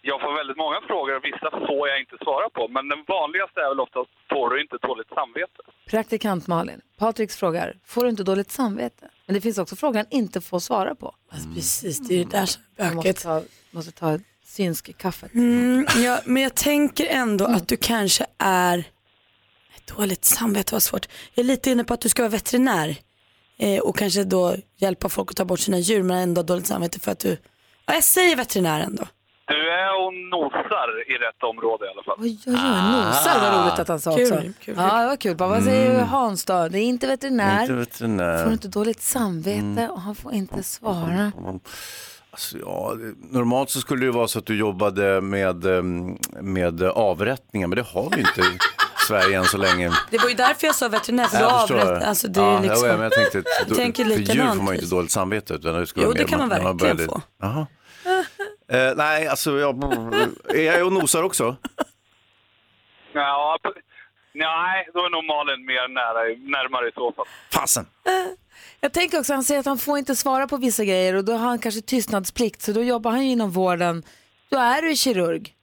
Jag får väldigt många frågor och vissa får jag inte svara på. Men den vanligaste är väl oftast, får du inte dåligt samvete?
Praktikant Malin. Patriks frågar, får du inte dåligt samvete? Men det finns också frågan inte får svara på.
Alltså, Precis, det är det där som är
Man måste
bökigt.
ta, måste ta synsk kaffet.
Mm, ja, men jag tänker ändå att du kanske är, ett dåligt samvete var svårt. Jag är lite inne på att du ska vara veterinär eh, och kanske då hjälpa folk att ta bort sina djur men ändå ha dåligt samvete för att du, ja jag säger veterinär ändå.
Du är och nosar i rätt område i alla fall.
Oj, oj, oj, nosar, vad roligt att han sa
Ah. Kul,
också.
kul, kul.
Ja, det var kul. Bara, vad säger Hans då? Det är inte veterinär.
Mm. Inte veterinär.
Får inte dåligt samvete
Mm.
och han får inte svara.
Alltså, ja, det- normalt så skulle det vara så att du jobbade med, ehm, med avrättningar, men det har vi inte i Sverige än så länge.
Det var ju därför jag sa veterinär för
Jag
då
förstår.
Alltså, avrätt, alltså det
ja,
är liksom.
ja, men jag tänkte,
Jag tänker
för djur
likadant.
får man ju inte dåligt samvete. Utan det skulle
Jo,
vara
det
mer-
kan man
man
verkligen
började-
få.
Jaha. Eh, nej, alltså jag, är jag och nosar också?
Ja, p- nej, då är nog Malin mer nära, i- närmare i så fall.
Fasen!
Eh, Jag tänker också, han säger att han får inte svara på vissa grejer och då har han kanske tystnadsplikt så då jobbar han ju inom vården. Då är du kirurg.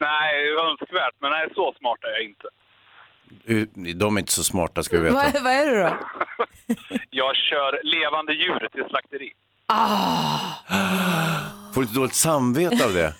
Nej, önskvärt, men nej, så smart är jag inte.
Eh, De är inte så smarta ska vi veta.
Vad, vad är du då?
Jag kör levande djur till slakteri.
Får du inte dåligt samvete av det?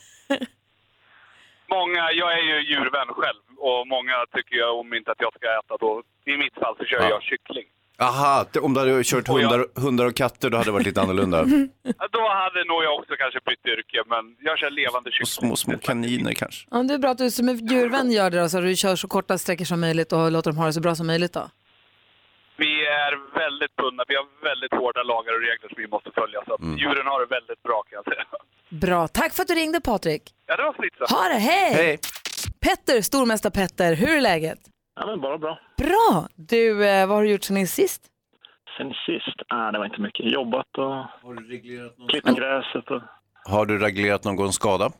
Många, jag är ju djurvän själv och många tycker ju om inte att jag ska äta då. I mitt fall så kör
Ja.
jag kyckling.
Aha, t- om du hade kört hundar, hundar och katter då hade det varit lite annorlunda.
Ja, Då hade nog jag också kanske bytt yrke, men jag kör levande kyckling.
Små, små kaniner kanske.
Om det är bra att du som en djurvän gör det då, så du kör så korta sträckor som möjligt och låter dem ha det så bra som möjligt då.
Vi är väldigt bundna. Vi har väldigt hårda lagar och regler som vi måste följa. Så att djuren har det väldigt bra kan jag säga.
Bra, tack för att du ringde Patrik.
Ja, det var Fritza.
Ha det, hej! Petter, stormästare Petter, hur är läget?
Ja, men bara bra.
Bra! Du, eh, vad har du gjort sen sist?
Sen sist, nej det var inte mycket. Jobbat och
Har du reglerat något?
klippt gräset och...
Har du reglerat någon skada?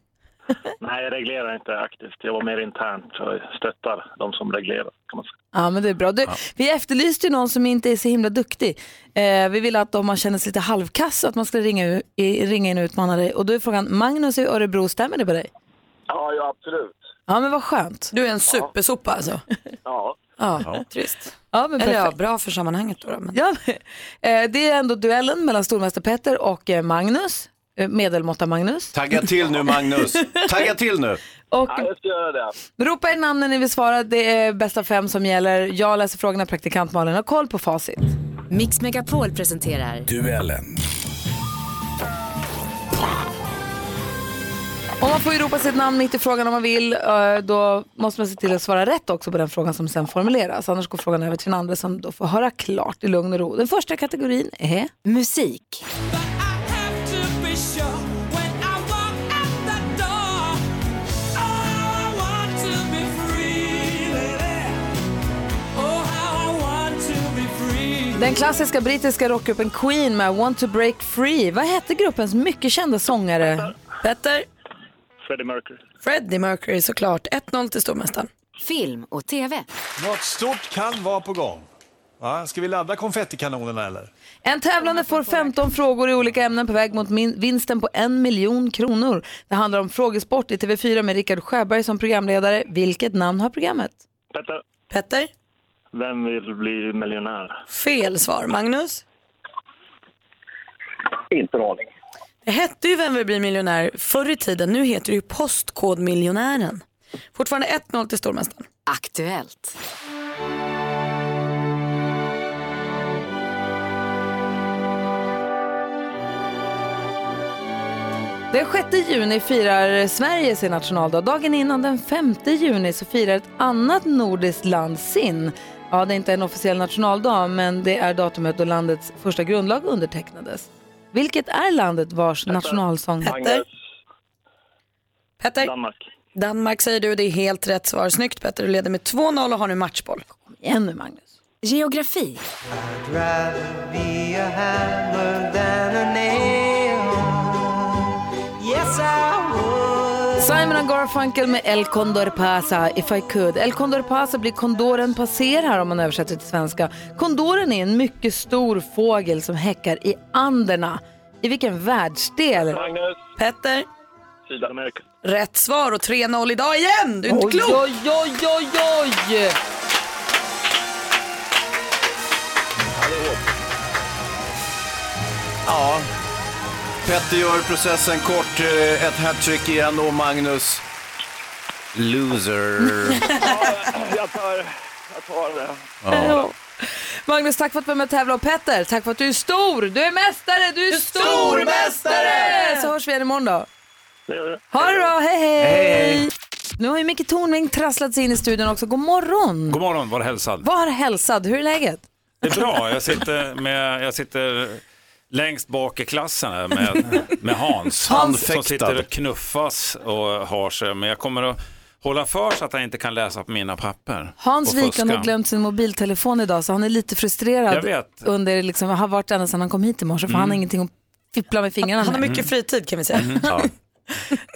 Nej, jag reglerar inte aktivt. Jag var mer internt och stöttar de som reglerar. Kan man säga.
Ja, men det är bra. Du, Vi efterlyste ju någon som inte är så himla duktig. Eh, vi ville att om man känner sig lite halvkass att man skulle ringa, u- i- ringa in och utmana dig. Och då är frågan, Magnus i Örebro, stämmer det på dig?
Ja, ja absolut.
Ja, men vad skönt.
Du är en supersopa alltså.
Ja.
Ja,
Ja.
trist.
Ja, men
Eller ja,
perfekt.
bra för sammanhanget då. då, Men...
Ja, men, eh, det är ändå duellen mellan stormästare Petter och eh, Magnus, eh, medelmåtta-Magnus.
Tagga till nu Magnus, tagga till nu.
Och
ja, jag ska göra det.
ropa er namn när ni vill svara. Det är bäst av fem som gäller. Jag läser frågorna, praktikant Malin har koll på facit.
Mix Megapol presenterar
Duellen.
Om man får ju ropa sitt namn mitt i frågan om man vill, eh, då måste man se till att svara rätt också på den frågan som sen formuleras. Annars går frågan över till den andra som då får höra klart i lugn och ro. Den första kategorin är musik. Den klassiska brittiska rockgruppen Queen med Want to break free. Vad hette gruppens mycket kända sångare?
Petter,
Freddie Mercury.
Freddie Mercury såklart. 1-0 till stormästaren.
film och tv.
Något stort kan vara på gång. Va? Ska vi ladda konfettikanonerna eller?
En tävlande får 15 frågor i olika ämnen på väg mot min- vinsten på en miljon kronor. Det handlar om frågesport i TV4 med Rickard Sjöberg som programledare. Vilket namn har programmet?
Petter,
Petter?
vem vill bli miljonär?
Fel svar. Magnus?
Inte en aning.
Det hette ju Vem vill bli miljonär förr i tiden. Nu heter det ju Postkodmiljonären. Fortfarande 1-0 till stormästaren.
Aktuellt.
Den 6 juni firar Sverige sin nationaldag. Dagen innan den 5 juni så firar ett annat nordiskt land sin. Ja, det är inte en officiell nationaldag, men det är datumet då landets första grundlag undertecknades. Vilket är landet vars nationalsång...
Petter? Petter? Danmark. Danmark säger du, det är helt rätt svar. Snyggt Petter, du leder med 2-0 och har nu matchboll. Kom
igen nu Magnus.
Geografi.
I'd rather be a hammer than a nail. Yes, I would.
Simon and Garfunkel med El Condor Pasa, If I Could. El Condor Pasa blir kondoren passer här om man översätter till svenska. Kondoren är en mycket stor fågel som häckar i Anderna. I vilken världsdel?
Magnus.
Petter?
Sydamerika.
Rätt svar och 3-0 idag igen! Du är inte
Oj,
klok!
oj, oj, oj, oj!
Ja, Petter gör processen kort, eh, ett hattrick igen och Magnus, loser.
Jag tar, jag tar det.
Ja. Magnus, tack för att du var med och tävlade. Och Petter, tack för att du är stor! Du är mästare! Du är stormästare! Så hörs vi igen imorgon då. Ha det bra, hej hej!
Hej, hej.
Nu har ju Micke Tornving trasslat sig in i studion också. God morgon!
God morgon, var hälsad.
Var hälsad, hur är läget?
Det är bra, jag sitter, med, jag sitter längst bak i klassen här med, med Hans.
Hans.
Som sitter och knuffas och har sig. Men jag kommer att hålla för så att han inte kan läsa på mina papper.
Hans
och
Wiklund
fuska.
har glömt sin mobiltelefon idag så han är lite frustrerad.
Jag vet.
Under, liksom, har varit ända sedan han kom hit i morse för
Mm.
han har ingenting att fippla med fingrarna
Han har
med.
mycket fritid kan vi säga.
Mm, ja. Mm.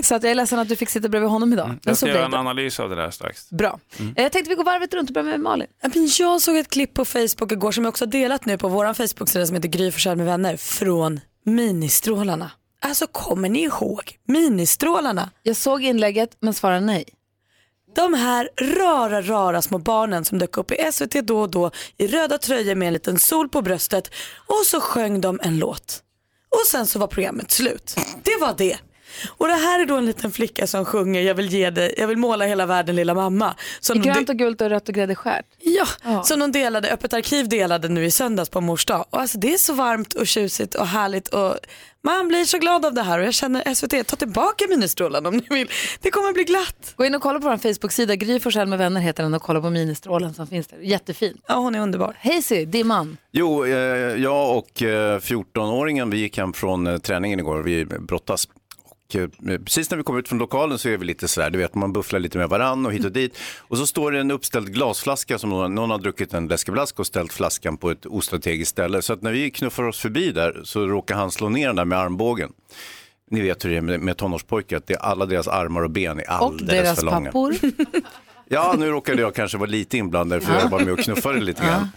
Så att jag är ledsen att du fick sitta bredvid honom idag. Men
Jag
så
ska
blev
göra en
det.
analys av det där strax.
Bra. Mm. Jag tänkte vi går varvet runt och börjar med Malin.
Ja, men Jag såg ett klipp på Facebook igår som jag också har delat nu på vår Facebook-sida som heter Gry Forssell med vänner från Ministrålarna. Alltså kommer ni ihåg Ministrålarna?
Jag såg inlägget men svarade nej.
De här rara, rara små barnen som dök upp i SVT då och då i röda tröjor med en liten sol på bröstet och så sjöng de en låt. Och sen så var programmet slut. Det var det. Och det här är då en liten flicka som sjunger Jag vill ge dig, jag vill måla hela världen lilla mamma. Som
I grönt och gult och rött och grädde skärt.
Ja, som de delade, Öppet arkiv delade nu i söndags på mors dag. Och alltså, det är så varmt och tjusigt och härligt och man blir så glad av det här och jag känner SVT, ta tillbaka Ministrålen om ni vill. Det kommer bli glatt.
Gå in och kolla på vår Facebook-sida, Gry Forssell med vänner heter den och kolla på ministrålen som finns där. Jättefint.
Ja, hon är underbar.
Hazy, Dimman.
Jo, eh, jag och eh, 14-åringen, vi gick hem från eh, träningen igår, vi brottas. Och, eh, precis när vi kommer ut från lokalen så är vi lite sådär, du vet man bufflar lite med varann och hit och dit. Och så står det en uppställd glasflaska som någon, någon har druckit en läskeblask och ställt flaskan på ett ostrategiskt ställe. Så att när vi knuffar oss förbi där så råkar han slå ner den där med armbågen. Ni vet hur det är med, med tonårspojkar, att det är alla deras armar och ben är
Och
alldeles
deras
för långa.
pappor.
Ja, nu råkade jag kanske vara lite inblandad för jag var med och knuffade lite grann.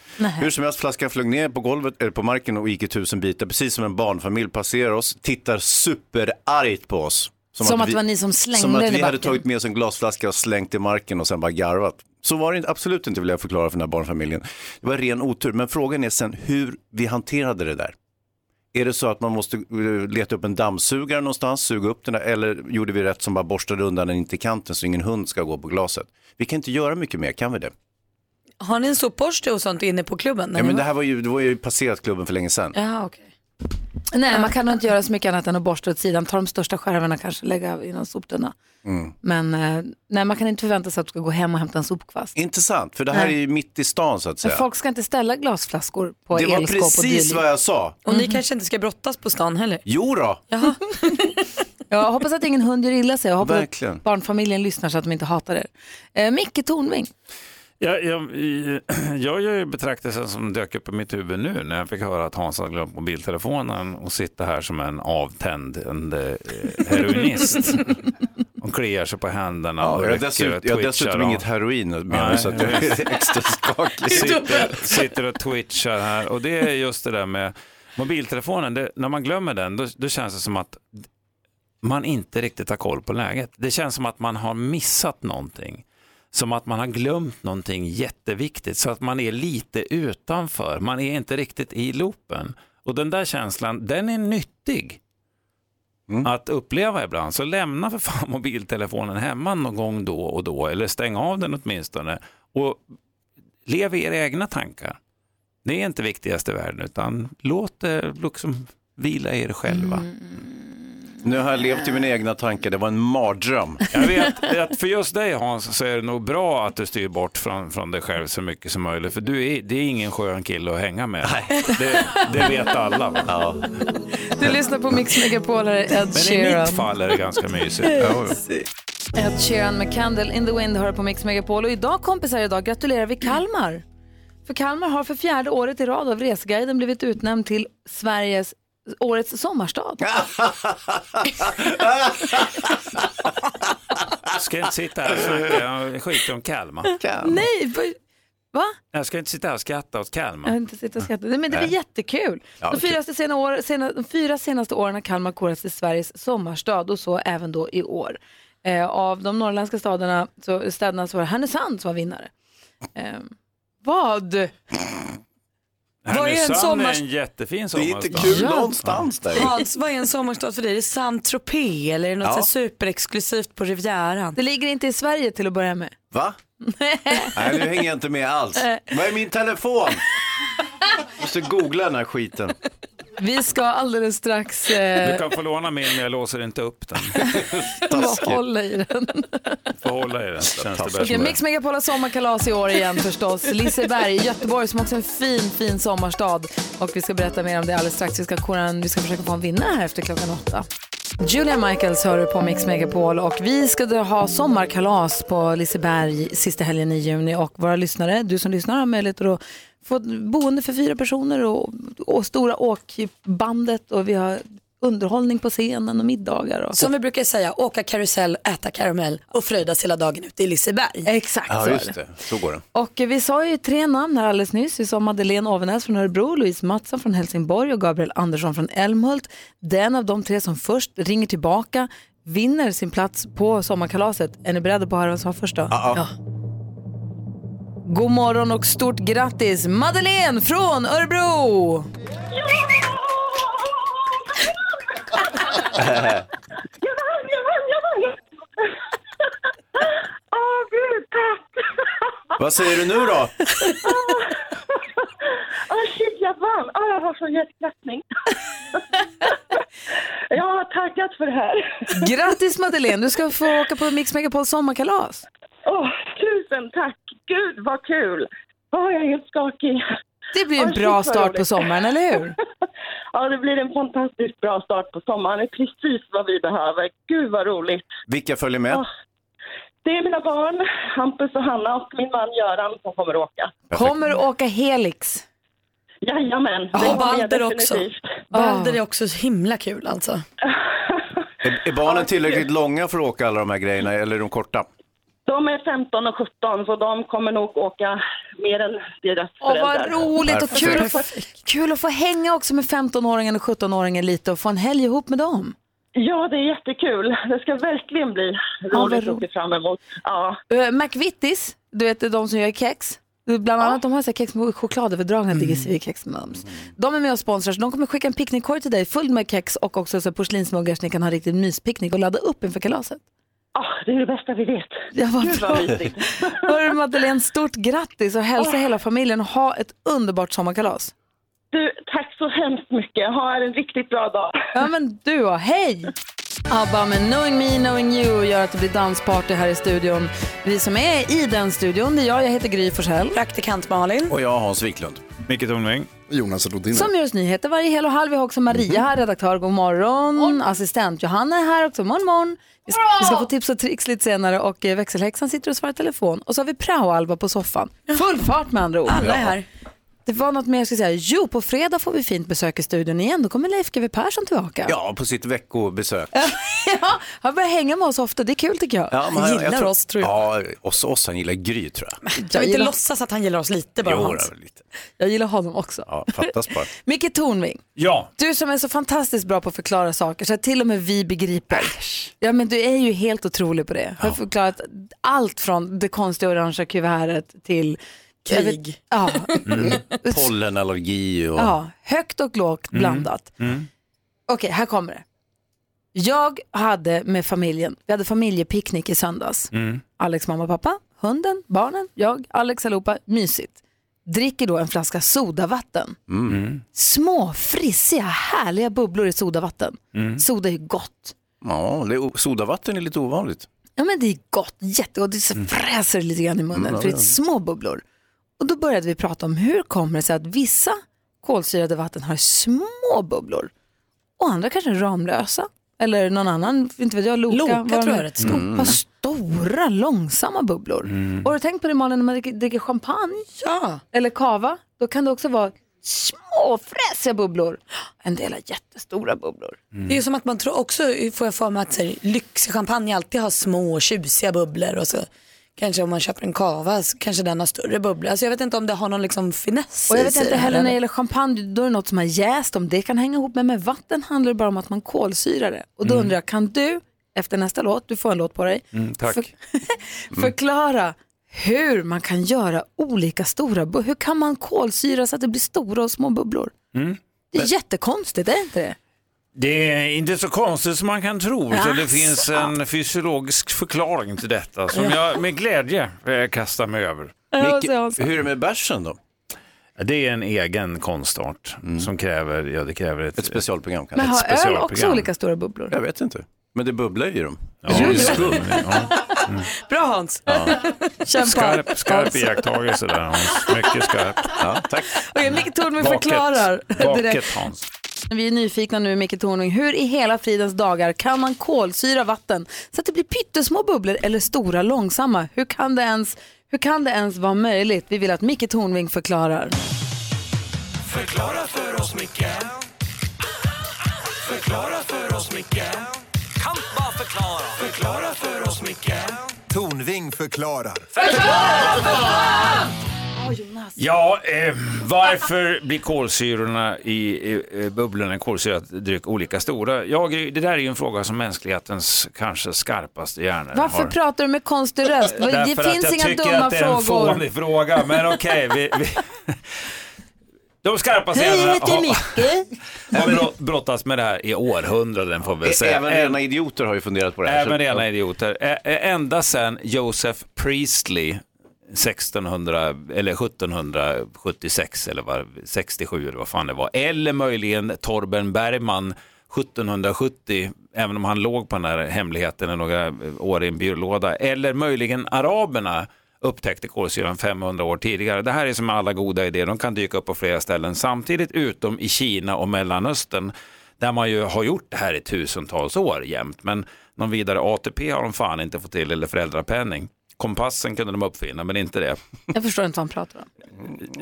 Hur som helst, flaskan flög ner på golvet, eller på marken och gick i tusen bitar, precis som en barnfamilj passerar oss, tittar superargt på oss.
Som att det var ni som slängde
Som att
den i
vi hade
backen.
tagit med oss en glasflaska och slängt i marken och sen bara garvat. Så var det inte- absolut inte vill jag förklara för den här barnfamiljen. Det var ren otur, men frågan är sen hur vi hanterade det där. Är det så att man måste eh, leta upp en dammsugare någonstans, suga upp den där, eller gjorde vi rätt som bara borstade undan den inte i kanten så ingen hund ska gå på glaset? Vi kan inte göra mycket mer, kan vi det?
Har ni en sopborste och sånt inne på klubben? när
Ja,
ni
men
var-
det här var ju, det var ju passerat klubben för länge sedan.
Jaha, okej.
Nej, man kan nog inte göra så mycket annat än att borsta åt sidan. Ta de största skärvorna kanske lägga i någon soptunna.
Mm.
Men eh, nej, man kan inte förvänta sig att du ska gå hem och hämta en sopkvast.
Intressant, för det här
Nej.
är ju mitt i stan så att
Men
säga.
folk ska inte ställa glasflaskor på
det var
elskåp och
precis
dylikt.
vad jag sa.
Och ni kanske inte ska brottas på stan heller?
Jo då.
Jag hoppas att ingen hund gör illa sig. Jag hoppas
Verkligen.
att barnfamiljen lyssnar så att de inte hatar er. Eh, Micke Tornving,
Jag, jag, jag gör ju betraktelsen som dök upp i mitt huvud nu när jag fick höra att Hans hade glömt mobiltelefonen och sitter här som en avtänd en, eh, heroinist. Och kliar sig på händerna och
jag har
rycker
dessutom,
och
jag har
twitchar
dessutom
och-
inget heroin med mig
Nej.
så att jag är extra skakig.
sitter, sitter och twitchar här och det är just det där med mobiltelefonen. Det, när man glömmer den då, då känns det som att man inte riktigt har koll på läget. Det känns som att man har missat någonting. Som att man har glömt någonting jätteviktigt. Så att man är lite utanför. Man är inte riktigt i loopen. Och den där känslan, den är nyttig att uppleva ibland. Så lämna för fan mobiltelefonen hemma någon gång då och då. Eller stäng av den åtminstone. Och lev i era egna tankar. Det är inte viktigast i världen utan låt det liksom vila er själva.
Nu har jag levt i mina egna tankar, Mm. det var en mardröm.
Jag vet att för just dig Hans så är det nog bra att du styr bort från, från dig själv så mycket som möjligt. För du är, det är ingen skön kille att hänga med. Det, det vet alla. va?
du lyssnar på Mix Megapol, här är Ed
Men i
Sheeran.
mitt fall är det ganska mysigt. Ja, jo.
Ed Sheeran med Candle in the Wind hör på Mix Megapol. Och idag kompisar, idag gratulerar vi Kalmar. För Kalmar har för fjärde året i rad av Resguiden blivit utnämnd till Sveriges årets sommarstad.
Jag ska inte sitta här och snacka skit om Kalmar.
Nej, vad- va?
Jag ska inte sitta här och skratta åt
Jag har
Kalmar.
inte suttit och skrattat. Nej, Men det blir
Nej.
jättekul.
Ja,
de, fyra sena år, sena, de fyra senaste åren har Kalmar korats till Sveriges sommarstad och så även då i år. Eh, av de norrländska staderna, så, städerna så var det Härnösand som var vinnare. Eh,
Vad
vad?
är en
Härnösand är
sommar-
en jättefin
är inte
sommarstad.
kul Ja. någonstans
där.
Hans, vad är en sommarstad för dig? Är det Saint-Tropez eller är det något
Ja.
så här superexklusivt på Rivieran?
Det ligger inte i Sverige till att börja med.
Va? Nej, nu hänger jag inte med alls. Vad är min telefon? Måste googla den här skiten.
Vi ska alldeles strax
Du
eh,
kan få låna min, men jag låser inte upp den.
hålla i den.
Får hålla i den, känns det
Okej, Mix
bäst.
Megapol har sommarkalas i år igen förstås. Liseberg, Göteborg som också är en fin, fin sommarstad. Och vi ska berätta mer om det alldeles strax. Vi ska, kora en, vi ska försöka få en vinnare här efter klockan åtta. Julia Michaels hör du på Mix Megapol och vi ska då ha sommarkalas på Liseberg sista helgen i juni och våra lyssnare, du som lyssnar har möjlighet att då få ett boende för fyra personer och, och stora åkbandet och vi har underhållning på scenen och middagar. Och...
Som vi brukar säga, åka karusell, äta karamell och fröjdas hela dagen ute i Liseberg.
Exakt
Ja, just det. Så går det.
Och eh, vi sa ju tre namn här alldeles nyss. Vi sa Madeleine Overnäs från Örebro, Louise Mattsson från Helsingborg och Gabriel Andersson från Älmhult. Den av de tre som först ringer tillbaka vinner sin plats på sommarkalaset. Är ni beredda på att höra vem som var först då? Ja. God morgon och stort grattis Madeleine från Örebro!
Jag vann, jag vann, jag vann! Åh, gud, tack!
Vad säger du nu då?
Åh, shit, jag vann! Åh, jag har sån hjärtklappning. jag har tackat för det här.
Grattis Madeleine, du ska få åka på Mix Megapol sommarkalas.
Åh, tusen tack! Gud, vad kul! Åh, jag är helt skakig.
Det blir en
Åh, shit,
bra
vad
start på
roligt.
sommaren, eller hur?
Ja, det blir en fantastiskt bra start på sommaren. Det är precis vad vi behöver. Gud, vad roligt!
Vilka följer med?
Det är mina barn, Hampus och Hanna, och min man Göran som kommer att åka.
Kommer du åka Helix?
Jajamän, det
Ja,
kommer jag
Balder också.
definitivt.
Balder är också så himla kul alltså.
Är, är barnen tillräckligt långa för att åka alla de här grejerna, eller är de korta?
De är 15 och 17, så de kommer nog åka mer än deras
Åh, vad
föräldrar.
roligt och kul att, få,
Perfekt.
kul att få hänga också med 15-åringen och 17-åringen lite och få en helg ihop med dem.
Ja, det är jättekul. Det ska verkligen bli roligt att se fram emot. Ja.
Eh, McVitties, du vet de som gör kex. Eh, Bland annat de har så här kex med chokladöverdragna DGCV kex mums. De är med och sponsrar så de kommer skicka en picknickkorg till dig full med kex och också så här porslinsmuggar så ni kan ha riktigt myspicknick och ladda upp inför kalaset.
Ah, det är det bästa vi vet.
Ja, vad
Gud,
bra.
vad mysigt.
Hörru Madeleine, stort grattis och hälsa hela familjen och ha ett underbart sommarkalas.
Du, tack så hemskt mycket. Ha en riktigt bra dag.
Ja men du och hej! ABBA med Knowing Me, Knowing You gör att det blir dansparty här i studion. Vi som är i den studion, det är jag, jag heter Gry Forssell. Praktikant Malin.
Och jag Hans Wiklund.
Micke Tornving.
Jonas Rodin.
Som gör oss nyheter varje hel och halv. Vi har också Maria här, redaktör, god morgon. Assistent Johanna är här också, morgon morgon. Vi ska, vi ska få tips och tricks lite senare och eh, växelhäxan sitter och svarar i telefon. Och så har vi prao-Alva på soffan. Full fart med andra ord.
Alla är här.
Det var något mer jag skulle säga. Jo, på fredag får vi fint besök i studion igen. Då kommer Leif GW Persson tillbaka.
Ja, på sitt veckobesök.
Ja, han börjar hänga med oss ofta. Det är kul tycker jag.
Ja, men Ja, oss, oss. Han gillar Gry tror jag.
Jag gillar-
låtsas att han gillar oss lite
Jo,
Hans.
det är lite.
Jag gillar honom också.
Ja, fattas bara.
Micke Tornving,
Ja.
du som är så fantastiskt bra på att förklara saker så att till och med vi begriper. Ja, men du är ju helt otrolig på det. Jag har förklarat allt från det konstiga orangea kuvertet till
Krig.
Jag vet- Ja,
Mm. Pollenallergi och...
ja, högt och lågt
Mm.
blandat.
Mm.
Okej, här kommer det. Jag hade med familjen, vi hade familjepicknick i söndags.
Mm.
Alex mamma och pappa, hunden, barnen, jag, Alex allihopa, mysigt. Dricker då en flaska sodavatten.
Mm.
Små, frissiga, härliga bubblor i sodavatten.
Mm.
Soda är ju gott.
Ja, det är, o- sodavatten är lite ovanligt.
Ja men det är gott, jättegott. Det så fräser lite grann i munnen
Mm, ja,
för det är
ja.
små bubblor. Och då började vi prata om hur kommer det sig att vissa kolsyrade vatten har små bubblor och andra kanske är Ramlösa eller någon annan, inte vet jag, Loka.
Loka
vad
tror
de-
jag är rätt stor.
Mm. Har stora, långsamma bubblor.
Mm.
Och har du tänkt på det Malin, när man dricker- dricker champagne ja. eller kava, då kan det också vara små fräsiga bubblor. En del har jättestora bubblor.
Det är ju som att man tror också, får jag för mig att så här, lyxig champagne alltid har små tjusiga bubblor och så kanske om man köper en kava så kanske den har större bubblor. Alltså jag vet inte om det har någon liksom finess
Och jag
i
vet
sig
inte
det här,
heller när det
eller?
gäller champagne, då är det något som har jäst, om det kan hänga ihop med, med vatten handlar det bara om att man kolsyrar det. Och då
Mm.
undrar jag, kan du efter nästa låt, du får en låt på dig,
Mm, tack.
förklara hur man kan göra olika stora bubblor? Hur kan man kolsyra så att det blir stora och små bubblor?
Mm.
Det är jättekonstigt, är det inte det?
Det är inte så konstigt som man kan tro. utan Det
Asså.
finns en fysiologisk förklaring till detta som jag med glädje eh, kastar mig över.
Ja, Micke, det är alltså.
hur är det med bärsen då? Mm.
Det är en egen konstart som kräver, ja, det kräver ett, ett
specialprogram.
Men har öl också olika stora bubblor?
Jag vet inte. Men det bubblar ju i dem.
Ja, Jo, jo.
skum.
Bra Hans! Kämpa.
Skarp, skarp iakttagelse där Hans. Mycket skarp.
Ja, tack.
Okej, Micke Tornving förklarar direkt.
Vaket Hans.
Vi är nyfikna nu, Micke Tornving. Hur i hela fridens dagar kan man kolsyra vatten så att det blir pyttesmå bubblor eller stora långsamma? Hur kan det ens, hur kan det ens vara möjligt? Vi vill att Micke Tornving förklarar.
Förklara för oss, Micke Förklara för oss, Micke Kan bara förklara Förklara för oss, Micke
Tornving förklarar.
Ja, eh, varför blir kolsyrorna i eh, bubblorna i kolsyrat dryck olika stora? Ja, Gry, det där är ju en fråga som mänsklighetens kanske skarpaste hjärnor
Varför
har.
pratar du med konstig röst? Det
Därför att
finns
jag
inga
tycker
dumma
att det är en
frågor.
fånig fråga, men okej. vi, vi... De skarpaste
Hej, jag
hjärnorna
heter
har,
Micke.
har brott- brottats med det här i århundraden får vi väl säga.
Även rena idioter har ju funderat på det här.
Även rena idioter. Ä- ä- Ända sedan Joseph Priestley 1600 eller 1776 eller vad, 67 eller vad fan det var. Eller möjligen Torben Bergman 1770, även om han låg på den här hemligheten i några år i en byrålåda. Eller möjligen araberna upptäckte kolsyran 500 år tidigare. Det här är som med alla goda idéer, de kan dyka upp på flera ställen samtidigt, utom i Kina och Mellanöstern där man ju har gjort det här i tusentals år jämt. Men någon vidare ATP har de fan inte fått till eller föräldrapenning. Kompassen kunde de uppfinna, men inte det.
Jag förstår inte vad han pratar om.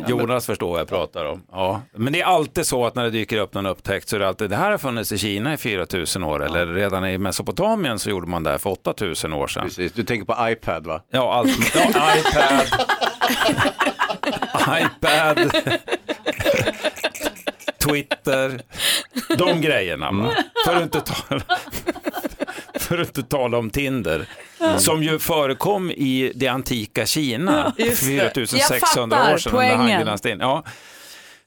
Jonas förstår vad jag pratar om. Ja. Men det är alltid så att när det dyker upp någon upptäckt så är det alltid det här har funnits i Kina i 4000 år eller redan i Mesopotamien så gjorde man det här för 8000 år sedan.
Precis. Du tänker på iPad va?
Ja, allt. Ja, iPad. iPad. Twitter. De grejerna.
Mm.
Va? För, att inte tala, för att inte tala om Tinder.
Mm.
Som ju förekom i det antika Kina.
Ja, just det.
4600
Jag
år sedan
fattar
under
poängen.
handgranasten. Ja.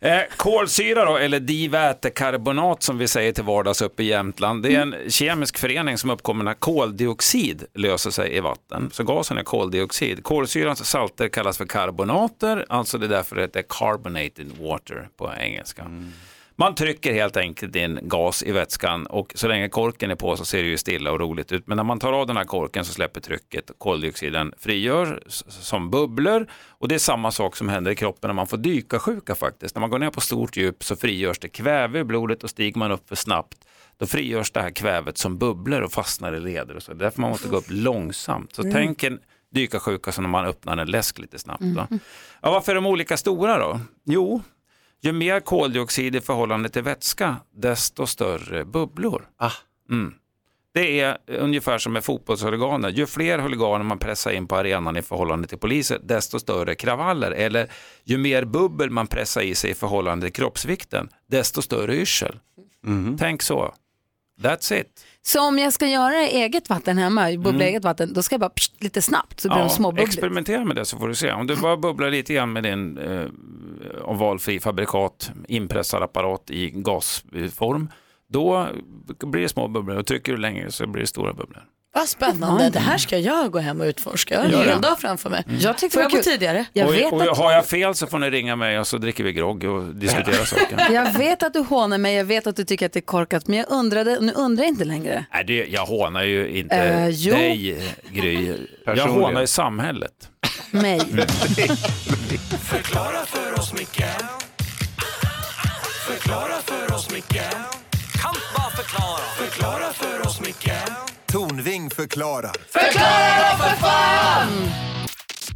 Eh, kolsyra då, eller divätekarbonat som vi säger till vardags uppe i Jämtland. Det är en
Mm.
kemisk förening som uppkommer när koldioxid löser sig i vatten. Så gasen är koldioxid. Kolsyrans salter kallas för karbonater, alltså det är därför det heter carbonated water på engelska.
Mm.
Man trycker helt enkelt in gas i vätskan och så länge korken är på så ser det ju stilla och roligt ut. Men när man tar av den här korken så släpper trycket och koldioxiden frigör s- som bubblor. Och det är samma sak som händer i kroppen när man får dykarsjuka faktiskt. När man går ner på stort djup så frigörs det kväve i blodet och stiger man upp för snabbt då frigörs det här kvävet som bubblor och fastnar i leder. Och så. Det är därför man måste gå upp långsamt. Så
Mm.
tänk en dykarsjuka som när man öppnar en läsk lite snabbt. Va?
Mm.
Ja, varför är de olika stora då? Jo, ju mer koldioxid i förhållande till vätska, desto större bubblor. Mm. Det är ungefär som med fotbollshuliganer. Ju fler huliganer man pressar in på arenan i förhållande till poliser, desto större kravaller. Eller ju mer bubbel man pressar i sig i förhållande till kroppsvikten, desto större yrsel. Tänk så. That's it.
Så om jag ska göra eget vatten hemma, bubbla eget vatten, då ska jag bara pst, lite snabbt så blir
Mm. Ja,
de småbubblor.
experimentera med det så får du se. Om du bara bubblar lite grann med din eh, av valfri fabrikat, inpressad apparat i gasform, då blir det små bubblor och trycker du längre så blir det stora bubblor.
Vad spännande. Det här ska jag gå hem och utforska. Jag har
Gör
en
det.
hel dag framför mig.
Mm.
Jag tycker Får jag gå tidigare?
och, och har jag fel så får ni ringa mig och så dricker vi grogg och diskuterar saken.
Jag vet att du hånar mig, jag vet att du tycker att det är korkat, men jag undrade, och nu undrar jag inte längre.
Nej, det, jag hånar ju inte
Eh, jo.
dig, Gry. Jag
Personligen.
hånar ju samhället. Mm.
Mig.
Förklara för oss, Micke Förklara för oss, Micke Kan bara förklara Förklara för oss, Micke
Tornving förklarar.
Förklara för fan!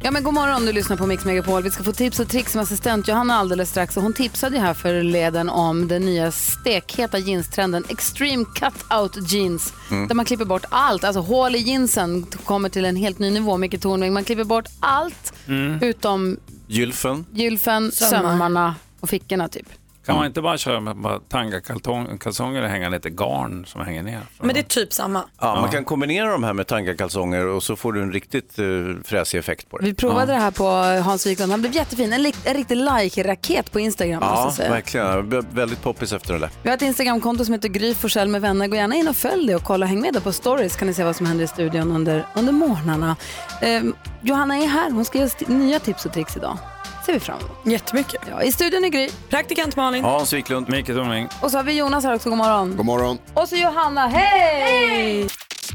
Ja men god morgon, du lyssnar på Mix Megapol. Vi ska få tips och tricks med assistent Johanna alldeles strax. Och hon tipsade ju här för leden om den nya stekheta jeanstrenden Extreme Cutout Jeans.
Mm.
Där man klipper bort allt, alltså hål i jeansen kommer till en helt ny nivå. Micke Tornving, man klipper bort allt
Mm.
utom
Gylfen.
gylfen,
Sömmar.
sömmarna och fickorna typ.
Kan
Mm.
man inte bara köra med bara tangakalsonger och hänga lite garn som hänger ner?
Men det är typ samma.
Ja, man kan kombinera de här med tangakalsonger och så får du en riktigt uh, fräsig effekt på det.
Vi provade
ja.
det här på Hans Wiklund, han blev jättefin. En, lik- en riktig like-raket på Instagram måste
Ja,
jag säga.
verkligen. Jag blev väldigt poppis efter det där.
Vi har ett Instagramkonto som heter Gry Forssell med vänner. Gå gärna in och följ det och kolla. Häng med där på stories kan ni se vad som händer i studion under, under morgnarna. Ehm, Johanna är här. Hon ska ge oss t- nya tips och tricks idag. ser vi fram emot.
Jättemycket.
Ja, I studion är Gry.
Praktikant Malin.
Hans Wiklund.
Mikael Tornving.
Och så har vi Jonas här också. God morgon.
God morgon.
Och så Johanna. Hej!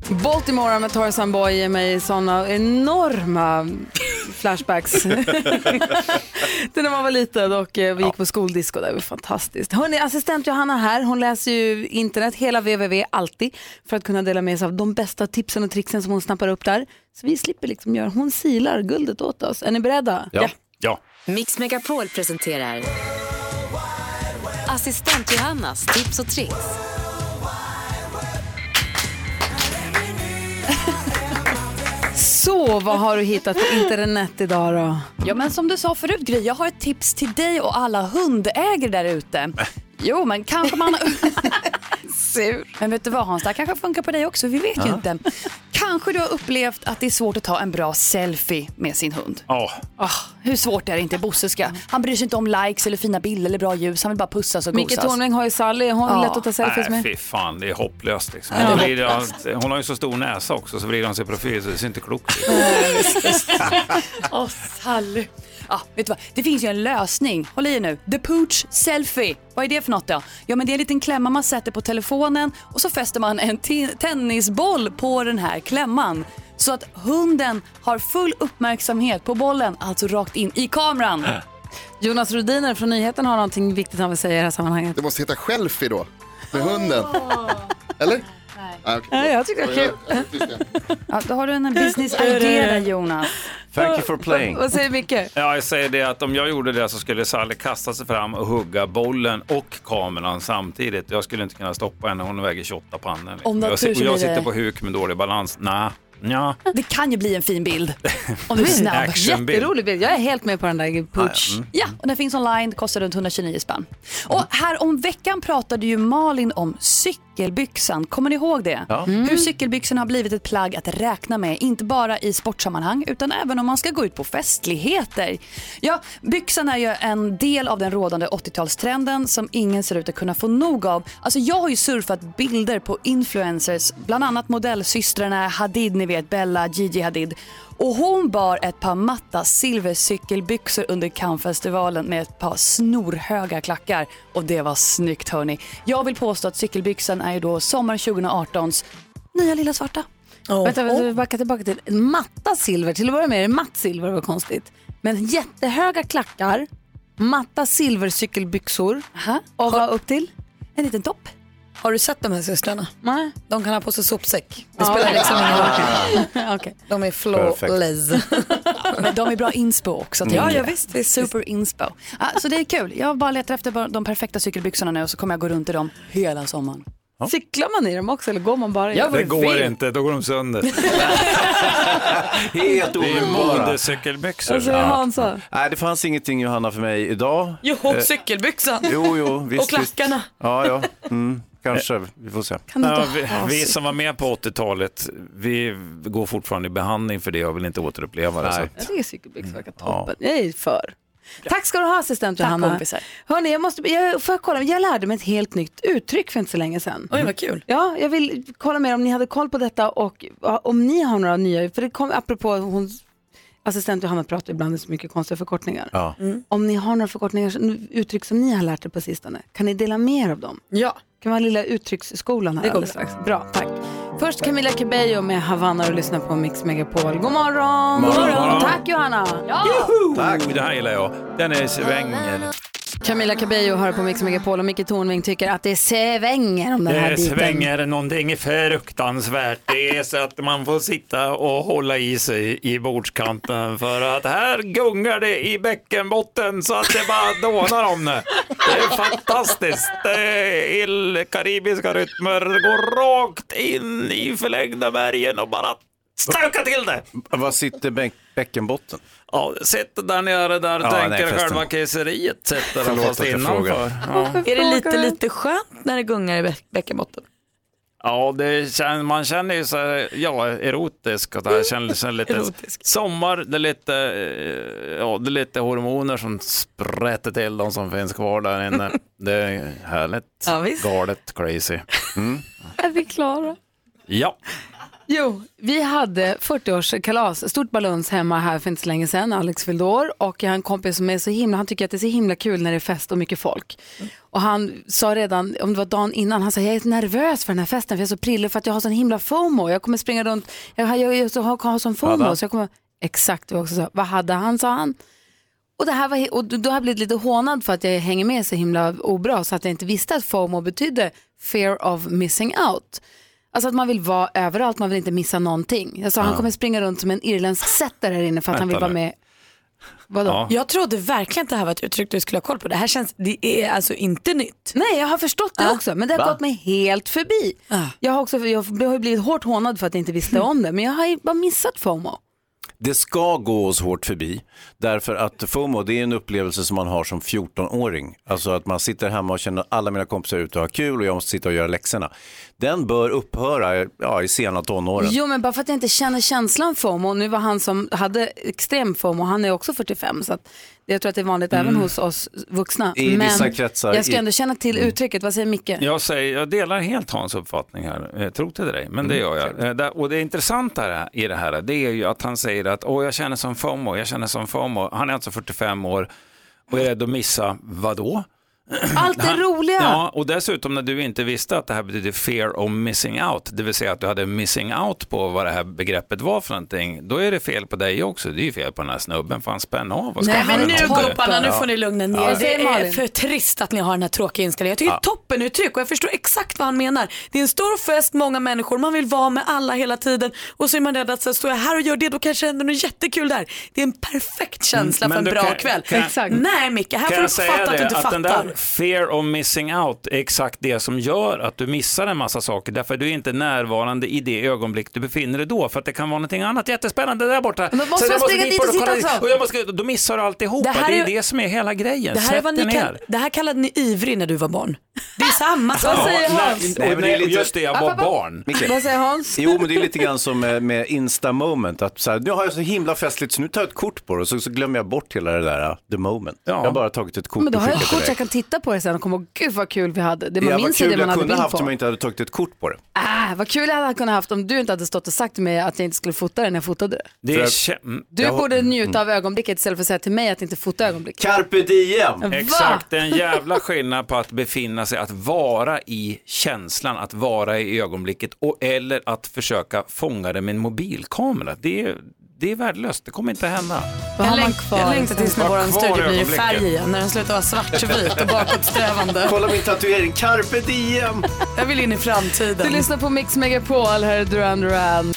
Baltimore med Tarzan Boy ger mig såna enorma flashbacks. det när man var liten och eh, vi gick på skoldisco, det var fantastiskt. Hörrni, assistent Johanna här, hon läser ju internet, hela www, alltid, för att kunna dela med sig av de bästa tipsen och tricksen som hon snappar upp där. Så vi slipper liksom göra, hon silar guldet åt oss. Är ni beredda?
ja.
Mix Megapol presenterar Assistent Johannas tips och tricks.
Så, vad har du hittat på internet idag då?
Ja men som du sa förut Gry, jag har ett tips till dig och alla hundägare där ute.
Äh.
Jo men kanske man... Sur. Men vet du vad Hans, det här kanske funkar på dig också, vi vet ju
Ja.
inte. Kanske du har upplevt att det är svårt att ta en bra selfie med sin hund.
Ja,
Ah, hur svårt är det inte? Bosse ska, han bryr sig inte om likes eller fina bilder eller bra ljus, han vill bara pussas och
Micke
gosas.
Tornving har ju Sally, hon är
Ja.
lätt att ta selfies
Ah, Nej,
med.
fy fan, det är hopplöst. Liksom.
Ja.
Då vrider han, hon har ju så stor näsa också, så vrider han sig i profil så det ser inte klokt ut.
Åh, Sally. Ja, vet du vad? Det finns ju en lösning. Håll i er nu. The Pooch Selfie. Vad är det för något då? Ja, men det är en liten klämma man sätter på telefonen och så fäster man en te- tennisboll på den här klämman. Så att hunden har full uppmärksamhet på bollen, alltså rakt in i kameran.
Äh.
Jonas Rhodiner från nyheten har någonting viktigt han vill säga i det här sammanhanget.
Det måste heta Shelfie då, med hunden. Eller? Nej. okej.
Nej, jag tycker det är
Ja, då har du en business idea där, Jonas.
Thank you for playing.
Vad säger Micke?
Ja, jag säger det att om jag gjorde det så skulle Sally kasta sig fram och hugga bollen och kameran samtidigt. Jag skulle inte kunna stoppa henne, hon väger 28 pannor. liksom.
Om
jag,
natur
si- och
så blir
jag
det-
sitter på huk med dålig balans. Nej, Ja.
Det kan ju bli en fin bild om du är snabb.
Actionbild. Jätterolig
bild. Jag är helt med på den där Pooch. Mm.
Ja, och den finns online, kostar runt 129 spänn. Och här om veckan pratade ju Malin om cykelbyxan. Kommer ni ihåg det?
Ja.
Hur cykelbyxan har blivit ett plagg att räkna med, inte bara i sportsammanhang utan även om man ska gå ut på festligheter. Ja, byxan är ju en del av den rådande 80-talstrenden som ingen ser ut att kunna få nog av. Alltså jag har ju surfat bilder på influencers, bland annat modellsystrarna Hadid, ni vet Bella, Gigi Hadid. Och hon bar ett par matta silvercykelbyxor under Cannesfestivalen med ett par snorhöga klackar. Och det var snyggt hörni. Jag vill påstå att cykelbyxan är ju då sommar 2018s nya lilla svarta.
Vänta, vänta, vi backar tillbaka till matta silver. Till att börja med är det matt silver, vad konstigt. Men jättehöga klackar, matta silvercykelbyxor. Och vad upp till?
En liten topp.
Har du sett de här systrarna?
Nej.
De kan ha på sig sopsäck. Det
Ja.
spelar liksom ingen roll.
Okej.
De är flawless.
Men de är bra inspo också.
Mm.
Ja,
Ja,
ja
ja,
visst. Det är super inspo. Ah, så det är kul. Jag bara letar efter bara de perfekta cykelbyxorna nu och så kommer jag gå runt i dem hela sommaren.
Cyklar man i dem också eller går man bara i dem?
det går inte, då går de sönder.
Helt
Det är
orimliga.
modecykelbyxor.
Alltså, Hansa.
Nej, det fanns ingenting Johanna för mig idag. Eh,
cykelbyxan.
Jo, jo, visst.
klackarna.
Visst. Ja, ja. Mm, kanske. Vi får se.
Kan du inte
Ja, vi,
ha
vi
cykel-
som var med på 80-talet, vi går fortfarande i behandling för det och vill inte återuppleva det. Så
Ja,
att,
det är cykelbyxor verkar
ja.
toppen. Jag är för. Tack ska du ha assistent
Tack,
Johanna.
kompisar.
Hörni, jag måste, jag, får jag kolla, jag lärde mig ett helt nytt uttryck för inte så länge sedan.
Oj, vad kul.
Ja, jag vill kolla med er om ni hade koll på detta och ja, om ni har några nya, för det kom apropå hon, assistent Johanna pratar ibland så mycket konstiga förkortningar.
Ja.
Mm. Om ni har några förkortningar, uttryck som ni har lärt er på sistone, kan ni dela med er av dem?
Ja.
Kan man lilla uttrycksskolan här
Det går
alldeles strax?
Ah.
Bra, tack. Först Camila Cabello med Havanna och lyssna på Mix Megapol. God morgon!
God morgon.
Tack Johanna!
Tack, det här gillar jag. Den är svänger.
Camila Cabello hör på Mix Megapol och Micke Tornving tycker att det svänger om den här
det
biten.
Eh, svänger någonting fruktansvärt. Det är så att man får sitta och hålla i sig i bordskanten för att här gungar det i bäckenbotten så att det bara dånar om det. Det är fantastiskt. Det är ill- karibiska rytmer går rakt in i förlängda bergen och bara stökar till det.
Var sitter bäck, bäckenbotten?
Ja, sitter där nere där
Ja, nej,
tänker
förresten.
själva kejseriet sätter den
Förlåt
fast
att jag
innanför.
frågar.
Ja.
Är det lite, lite skönt när det gungar i bä- bäckenbotten?
Ja, det kän, man känner ju så här, ja, erotisk och det här känns som lite sommar, det är lite, eh, ja, det är lite hormoner som sprätter till de som finns kvar där inne. Det är härligt,
Ja, visst.
galet, crazy. Mm.
Är vi klara?
Ja,
Jo, vi hade 40-årskalas, stort baluns hemma här för inte så länge sedan. Alex fyllde år och jag har en kompis som är så himla, han tycker att det är så himla kul när det är fest och mycket folk. Och han sa redan, om det var dagen innan, han sa jag är nervös för den här festen för jag är så prillig för att jag har sån himla fomo. Jag kommer springa runt, jag, har- jag, jag, jag har, har sån
Vad hade
fomo.
han?
Så jag kommer, exakt vad jag också sa, vad hade han sa han. Och, det här var, he- och då har jag blivit lite hånad för att jag hänger med så himla obra så att jag inte visste att FOMO betydde fear of missing out. Alltså att man vill vara överallt, man vill inte missa någonting. Jag sa han
Ja.
kommer springa runt som en irländsk setter här inne för att han vill
Vänta
vara
nu.
med. Vadå?
Ja. Jag trodde verkligen att det här var ett uttryck du skulle ha koll på. Det här känns, det är alltså inte nytt.
Nej, jag har förstått det också, men det har
Va?
gått mig helt förbi. Jag har också jag har ju blivit hårt hånad för att jag inte visste om det, men jag har ju bara missat FOMO.
Det ska gå oss hårt förbi, därför att FOMO det är en upplevelse som man har som 14-åring. Alltså att man sitter hemma och känner att alla mina kompisar är ute och har kul och jag måste sitta och göra läxorna. Den bör upphöra ja, i sena tonåren.
Jo, men bara för att jag inte känner känslan FOMO. Nu var han som hade extrem FOMO, han är också 45, så att jag tror att det är vanligt även
Mm.
hos oss vuxna.
I
men
vissa kretsar,
jag ska
i-
ändå känna till
Mm.
uttrycket. Vad säger Micke?
jag, säger, jag delar helt Hans uppfattning här, eh, tro till dig, men
Mm,
det gör jag. Eh, där- Och det intressanta här- i det här, det är ju att han säger att Åh, jag känner som FOMO, jag känner som FOMO. Han är alltså 45 år och är rädd att missa vadå?
Allt det
Han-
roliga!
Ja, och dessutom när du inte visste att det här betyder fear of missing out, det vill säga att du hade missing out på vad det här begreppet var för någonting, då är det fel på dig också. Det är ju fel på den här snubben, för han spänn av och
Nej
skaffa
men
en
nu
topp.
gubbarna, nu
Ja.
får ni lugna ner
Ja.
er. Det är för trist att ni har den här tråkiga inställningen. Jag tycker
Ja.
det är toppen uttryck och jag förstår exakt vad han menar. Det är en stor fest, många människor, man vill vara med alla hela tiden och så är man rädd att så står jag här och gör det, då kanske det händer något jättekul där. Det är en perfekt känsla
Mm, men
för
du
en bra
kan-
kväll.
kan- Exakt.
Nej Micke, här
Kan
får du
jag säga
fatta att du
det,
inte
att den
fattar.
där fear of missing out är exakt det som gör att du missar en massa saker. Därför att du är inte närvarande i det ögonblick du befinner dig då. För att det kan vara någonting annat jättespännande där borta.
Men måste
Så
man
jag
springa dit och
kolla
sitta
dit.
också?
Och jag måste, då missar du alltihopa.
Det
Det,
här
är
är-
det som är hela grejen.
Det här, är
Sätt
vad
dig
ni
ner.
kall- det här kallade ni ivrig när du var barn. Det är samma sak.
Nej, men det är lite- Just det, jag var barn.
Vad säger Hans?
Jo, men det är lite grann som eh, med Insta-moment. Att så här, nu har jag så himla festligt så nu tar jag ett kort på det och så, så glömmer jag bort hela det där, eh, the moment. Jag har bara tagit ett kort
Men då
och
har jag ett
skickat
kort så
iväg.
jag kan titta på det sen och komma ihåg, gud vad kul vi hade. Det
Ja,
man
vad
minns är
kul
det man
jag
hade
kunde
bild
haft om
på.
jag inte hade tagit ett kort på det.
Ah, vad kul jag hade kunnat haft om du inte hade stått och sagt till mig att jag inte skulle fota det när jag fotade det.
Det
För
är
jag-
kä- mm.
Du
jag-
borde njuta av ögonblicket istället för att säga till mig att inte fota ögonblicket.
Carpe diem!
Exakt, en jävla skillnad på att befinna sig, att vara i känslan, att vara i ögonblicket och eller att försöka fånga det med en mobilkamera. Det är, det är värdelöst, det kommer inte hända.
Vad har man
läng-
kvar? liksom?
jag
Jag
längtar
längtar tills
när
när
vår
vår
kvar studio
studio
i blir i
blir i
ögonblicket. färg
färg igen, när den slutar vara svartvit och bakåtsträvande.
Kolla min tatuering, carpe diem!
Jag vill in i framtiden.
Du lyssnar på Mix Megapol, här är Duran Duran.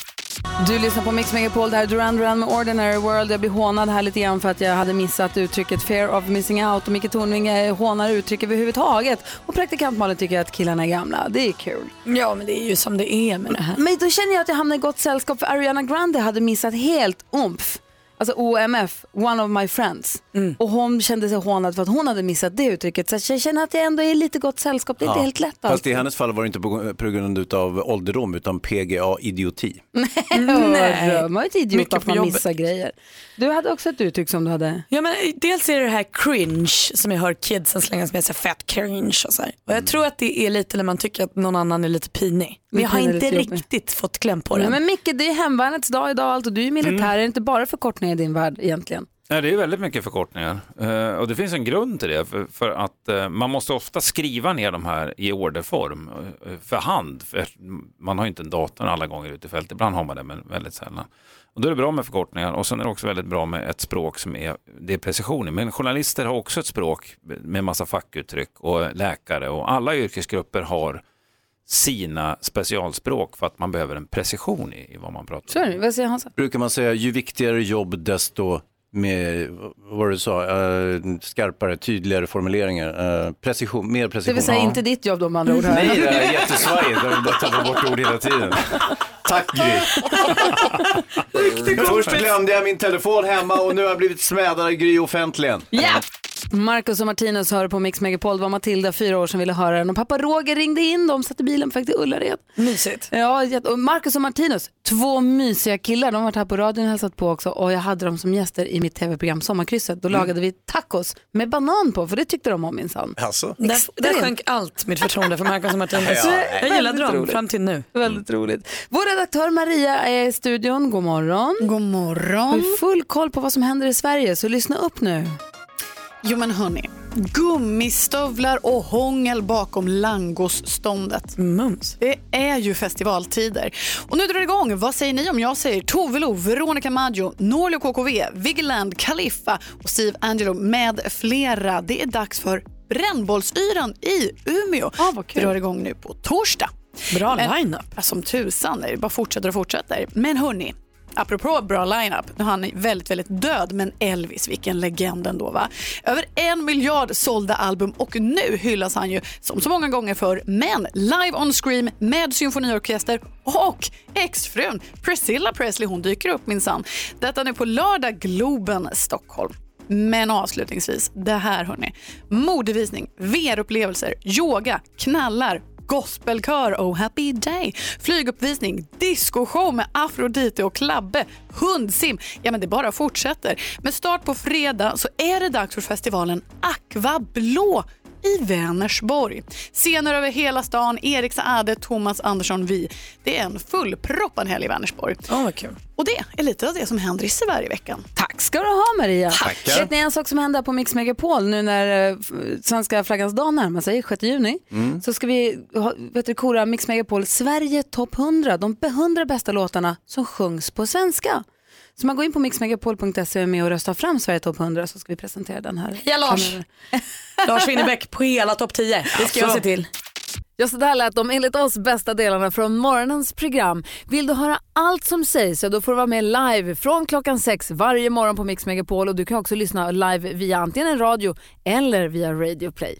Du lyssnar på Mix Megapol, det här är Duran Duran med Ordinary World. Jag blir hånad här lite grann för att jag hade missat uttrycket fear of missing out och Micke Tornving eh, hånar uttryck överhuvudtaget. Och praktikant Malin tycker att killarna är gamla, det är kul.
Ja, men det är ju som det är med det här.
Men då känner jag att jag hamnar i gott sällskap för Ariana Grande hade missat helt OMF. Alltså OMF, One of my friends.
Mm.
Och hon kände sig hånad för att hon hade missat det uttrycket. Så jag känner att jag ändå är i lite gott sällskap. Det är inte helt lätt
Fast
alltid.
i hennes fall var det inte på på grund av ålderdom utan PGA-idioti.
Nej. Man är inte idiot
Mycket
att
på
man
jobbet.
missar grejer. Du hade också ett uttryck som du hade.
Ja, men dels är det det här cringe som jag hör kidsen slänga sig med, så här, fett cringe och så här. Och jag tror att det är lite när man tycker att någon annan är lite pinig. Men jag har
Pinig är
inte
lite jobbig.
riktigt fått kläm på
Nej,
den.
men Micke, det är hemvärnets dag idag och allt och du är militär. Är det inte bara förkortningar i din värld egentligen?
Ja, det är väldigt mycket förkortningar Eh, och det finns en grund till det för, för att eh, man måste ofta skriva ner de här i orderform eh, för hand. För man har ju inte en dator alla gånger ute i fält, ibland har man det men väldigt sällan. Och då är det bra med förkortningar och sen är det också väldigt bra med ett språk som är, det är precision i. Men journalister har också ett språk med massa fackuttryck och läkare och alla yrkesgrupper har sina specialspråk för att man behöver en precision i, i vad man pratar om.
Så är det. Vad säger Hansa?
Brukar man säga ju viktigare jobb desto med, vad var det du sa, eh, skarpare, tydligare formuleringar, eh, precision, mer
Det
precision.
vill säga
Ja.
inte ditt jobb då med andra ord. hör jag.
Nej, det här är jättesvajigt. Jag vill bara tappa bort ord hela tiden. Tack Gry. Först glömde jag min telefon hemma och nu har jag blivit smädad av Gry offentligen.
Ja! Marcus och Martinus hör på Mix Megapol. Det var Matilda, fyra år, som ville höra den. Och pappa Roger ringde in dem, satt i bilen på väg till Ullared.
Mysigt.
Ja, jätte- och Marcus och Martinus, två mysiga killar. De har varit här på radion och hälsat på också. Och jag hade dem som gäster i mitt tv-program Sommarkrysset.
Mm.
Då lagade vi tacos med banan på, för det tyckte de om minsann.
Alltså.
Där, där
Extremt.
sjönk allt mitt förtroende för Marcus och Martinus.
Ja,
jag gillade
väldigt
dem
roligt.
fram till nu.
Väldigt roligt. Vår redaktör Maria är i studion. God morgon.
God morgon.
Har full koll på vad som händer i Sverige, så lyssna upp nu.
Jo men hörni, gummistövlar och hångel bakom langosståndet.
Mums.
Det är ju festivaltider. Och nu drar det igång. Vad säger ni om jag säger Tove Lo, Veronica Maggio, Norli och KKV, Vigeland, Kaliffa och Steve Angelo med flera. Det är dags för Brännbollsyran i Umeå. Ah, vad kul. drar igång nu på torsdag.
Bra
Men-
line-up.
Ja, Som tusan, det bara fortsätter och fortsätter. Men hörni, apropå bra lineup, nu är han väldigt, väldigt död, men Elvis, vilken legend ändå va? Över en miljard sålda album och nu hyllas han ju som så många gånger förr, men live on scream med symfoniorkester och exfrun Priscilla Presley, hon dyker upp minsann. Detta nu på lördag, Globen, Stockholm. Men avslutningsvis, det här hörni. Modevisning, VR-upplevelser, yoga, knallar, gospelkör Oh happy day, flyguppvisning, discoshow med Afrodite och Klabbe, hundsim. Ja, men det bara fortsätter. Med start på fredag så är det dags för festivalen Aqua Blå i Vänersborg. Scener över hela stan, Erik Saade, Thomas Andersson, vi. Det är en fullproppad helg i Vänersborg.
Oh, vad kul.
Och det är lite av det som händer i Sverige i veckan.
Tack ska du ha Maria.
Tackar.
Vet ni en sak som händer på Mix Megapol nu när eh, f- svenska flaggans dag närmar sig, 6 juni,
Mm.
så ska vi ha, vet du, kora Mix Megapol Sverige topp 100, de 100 bästa låtarna som sjungs på svenska. Så man går in på mixmegapol.se och är med och röstar fram Sverige topp 100 så ska vi presentera den här.
Heja Lars! Lars Winnerbäck på hela topp 10. Det ska jag
Alltså.
se till.
Ja, så där lät de enligt oss bästa delarna från morgonens program. Vill du höra allt som sägs så då får du vara med live från klockan sex varje morgon på Mix Megapol och du kan också lyssna live via antingen en radio eller via Radio Play.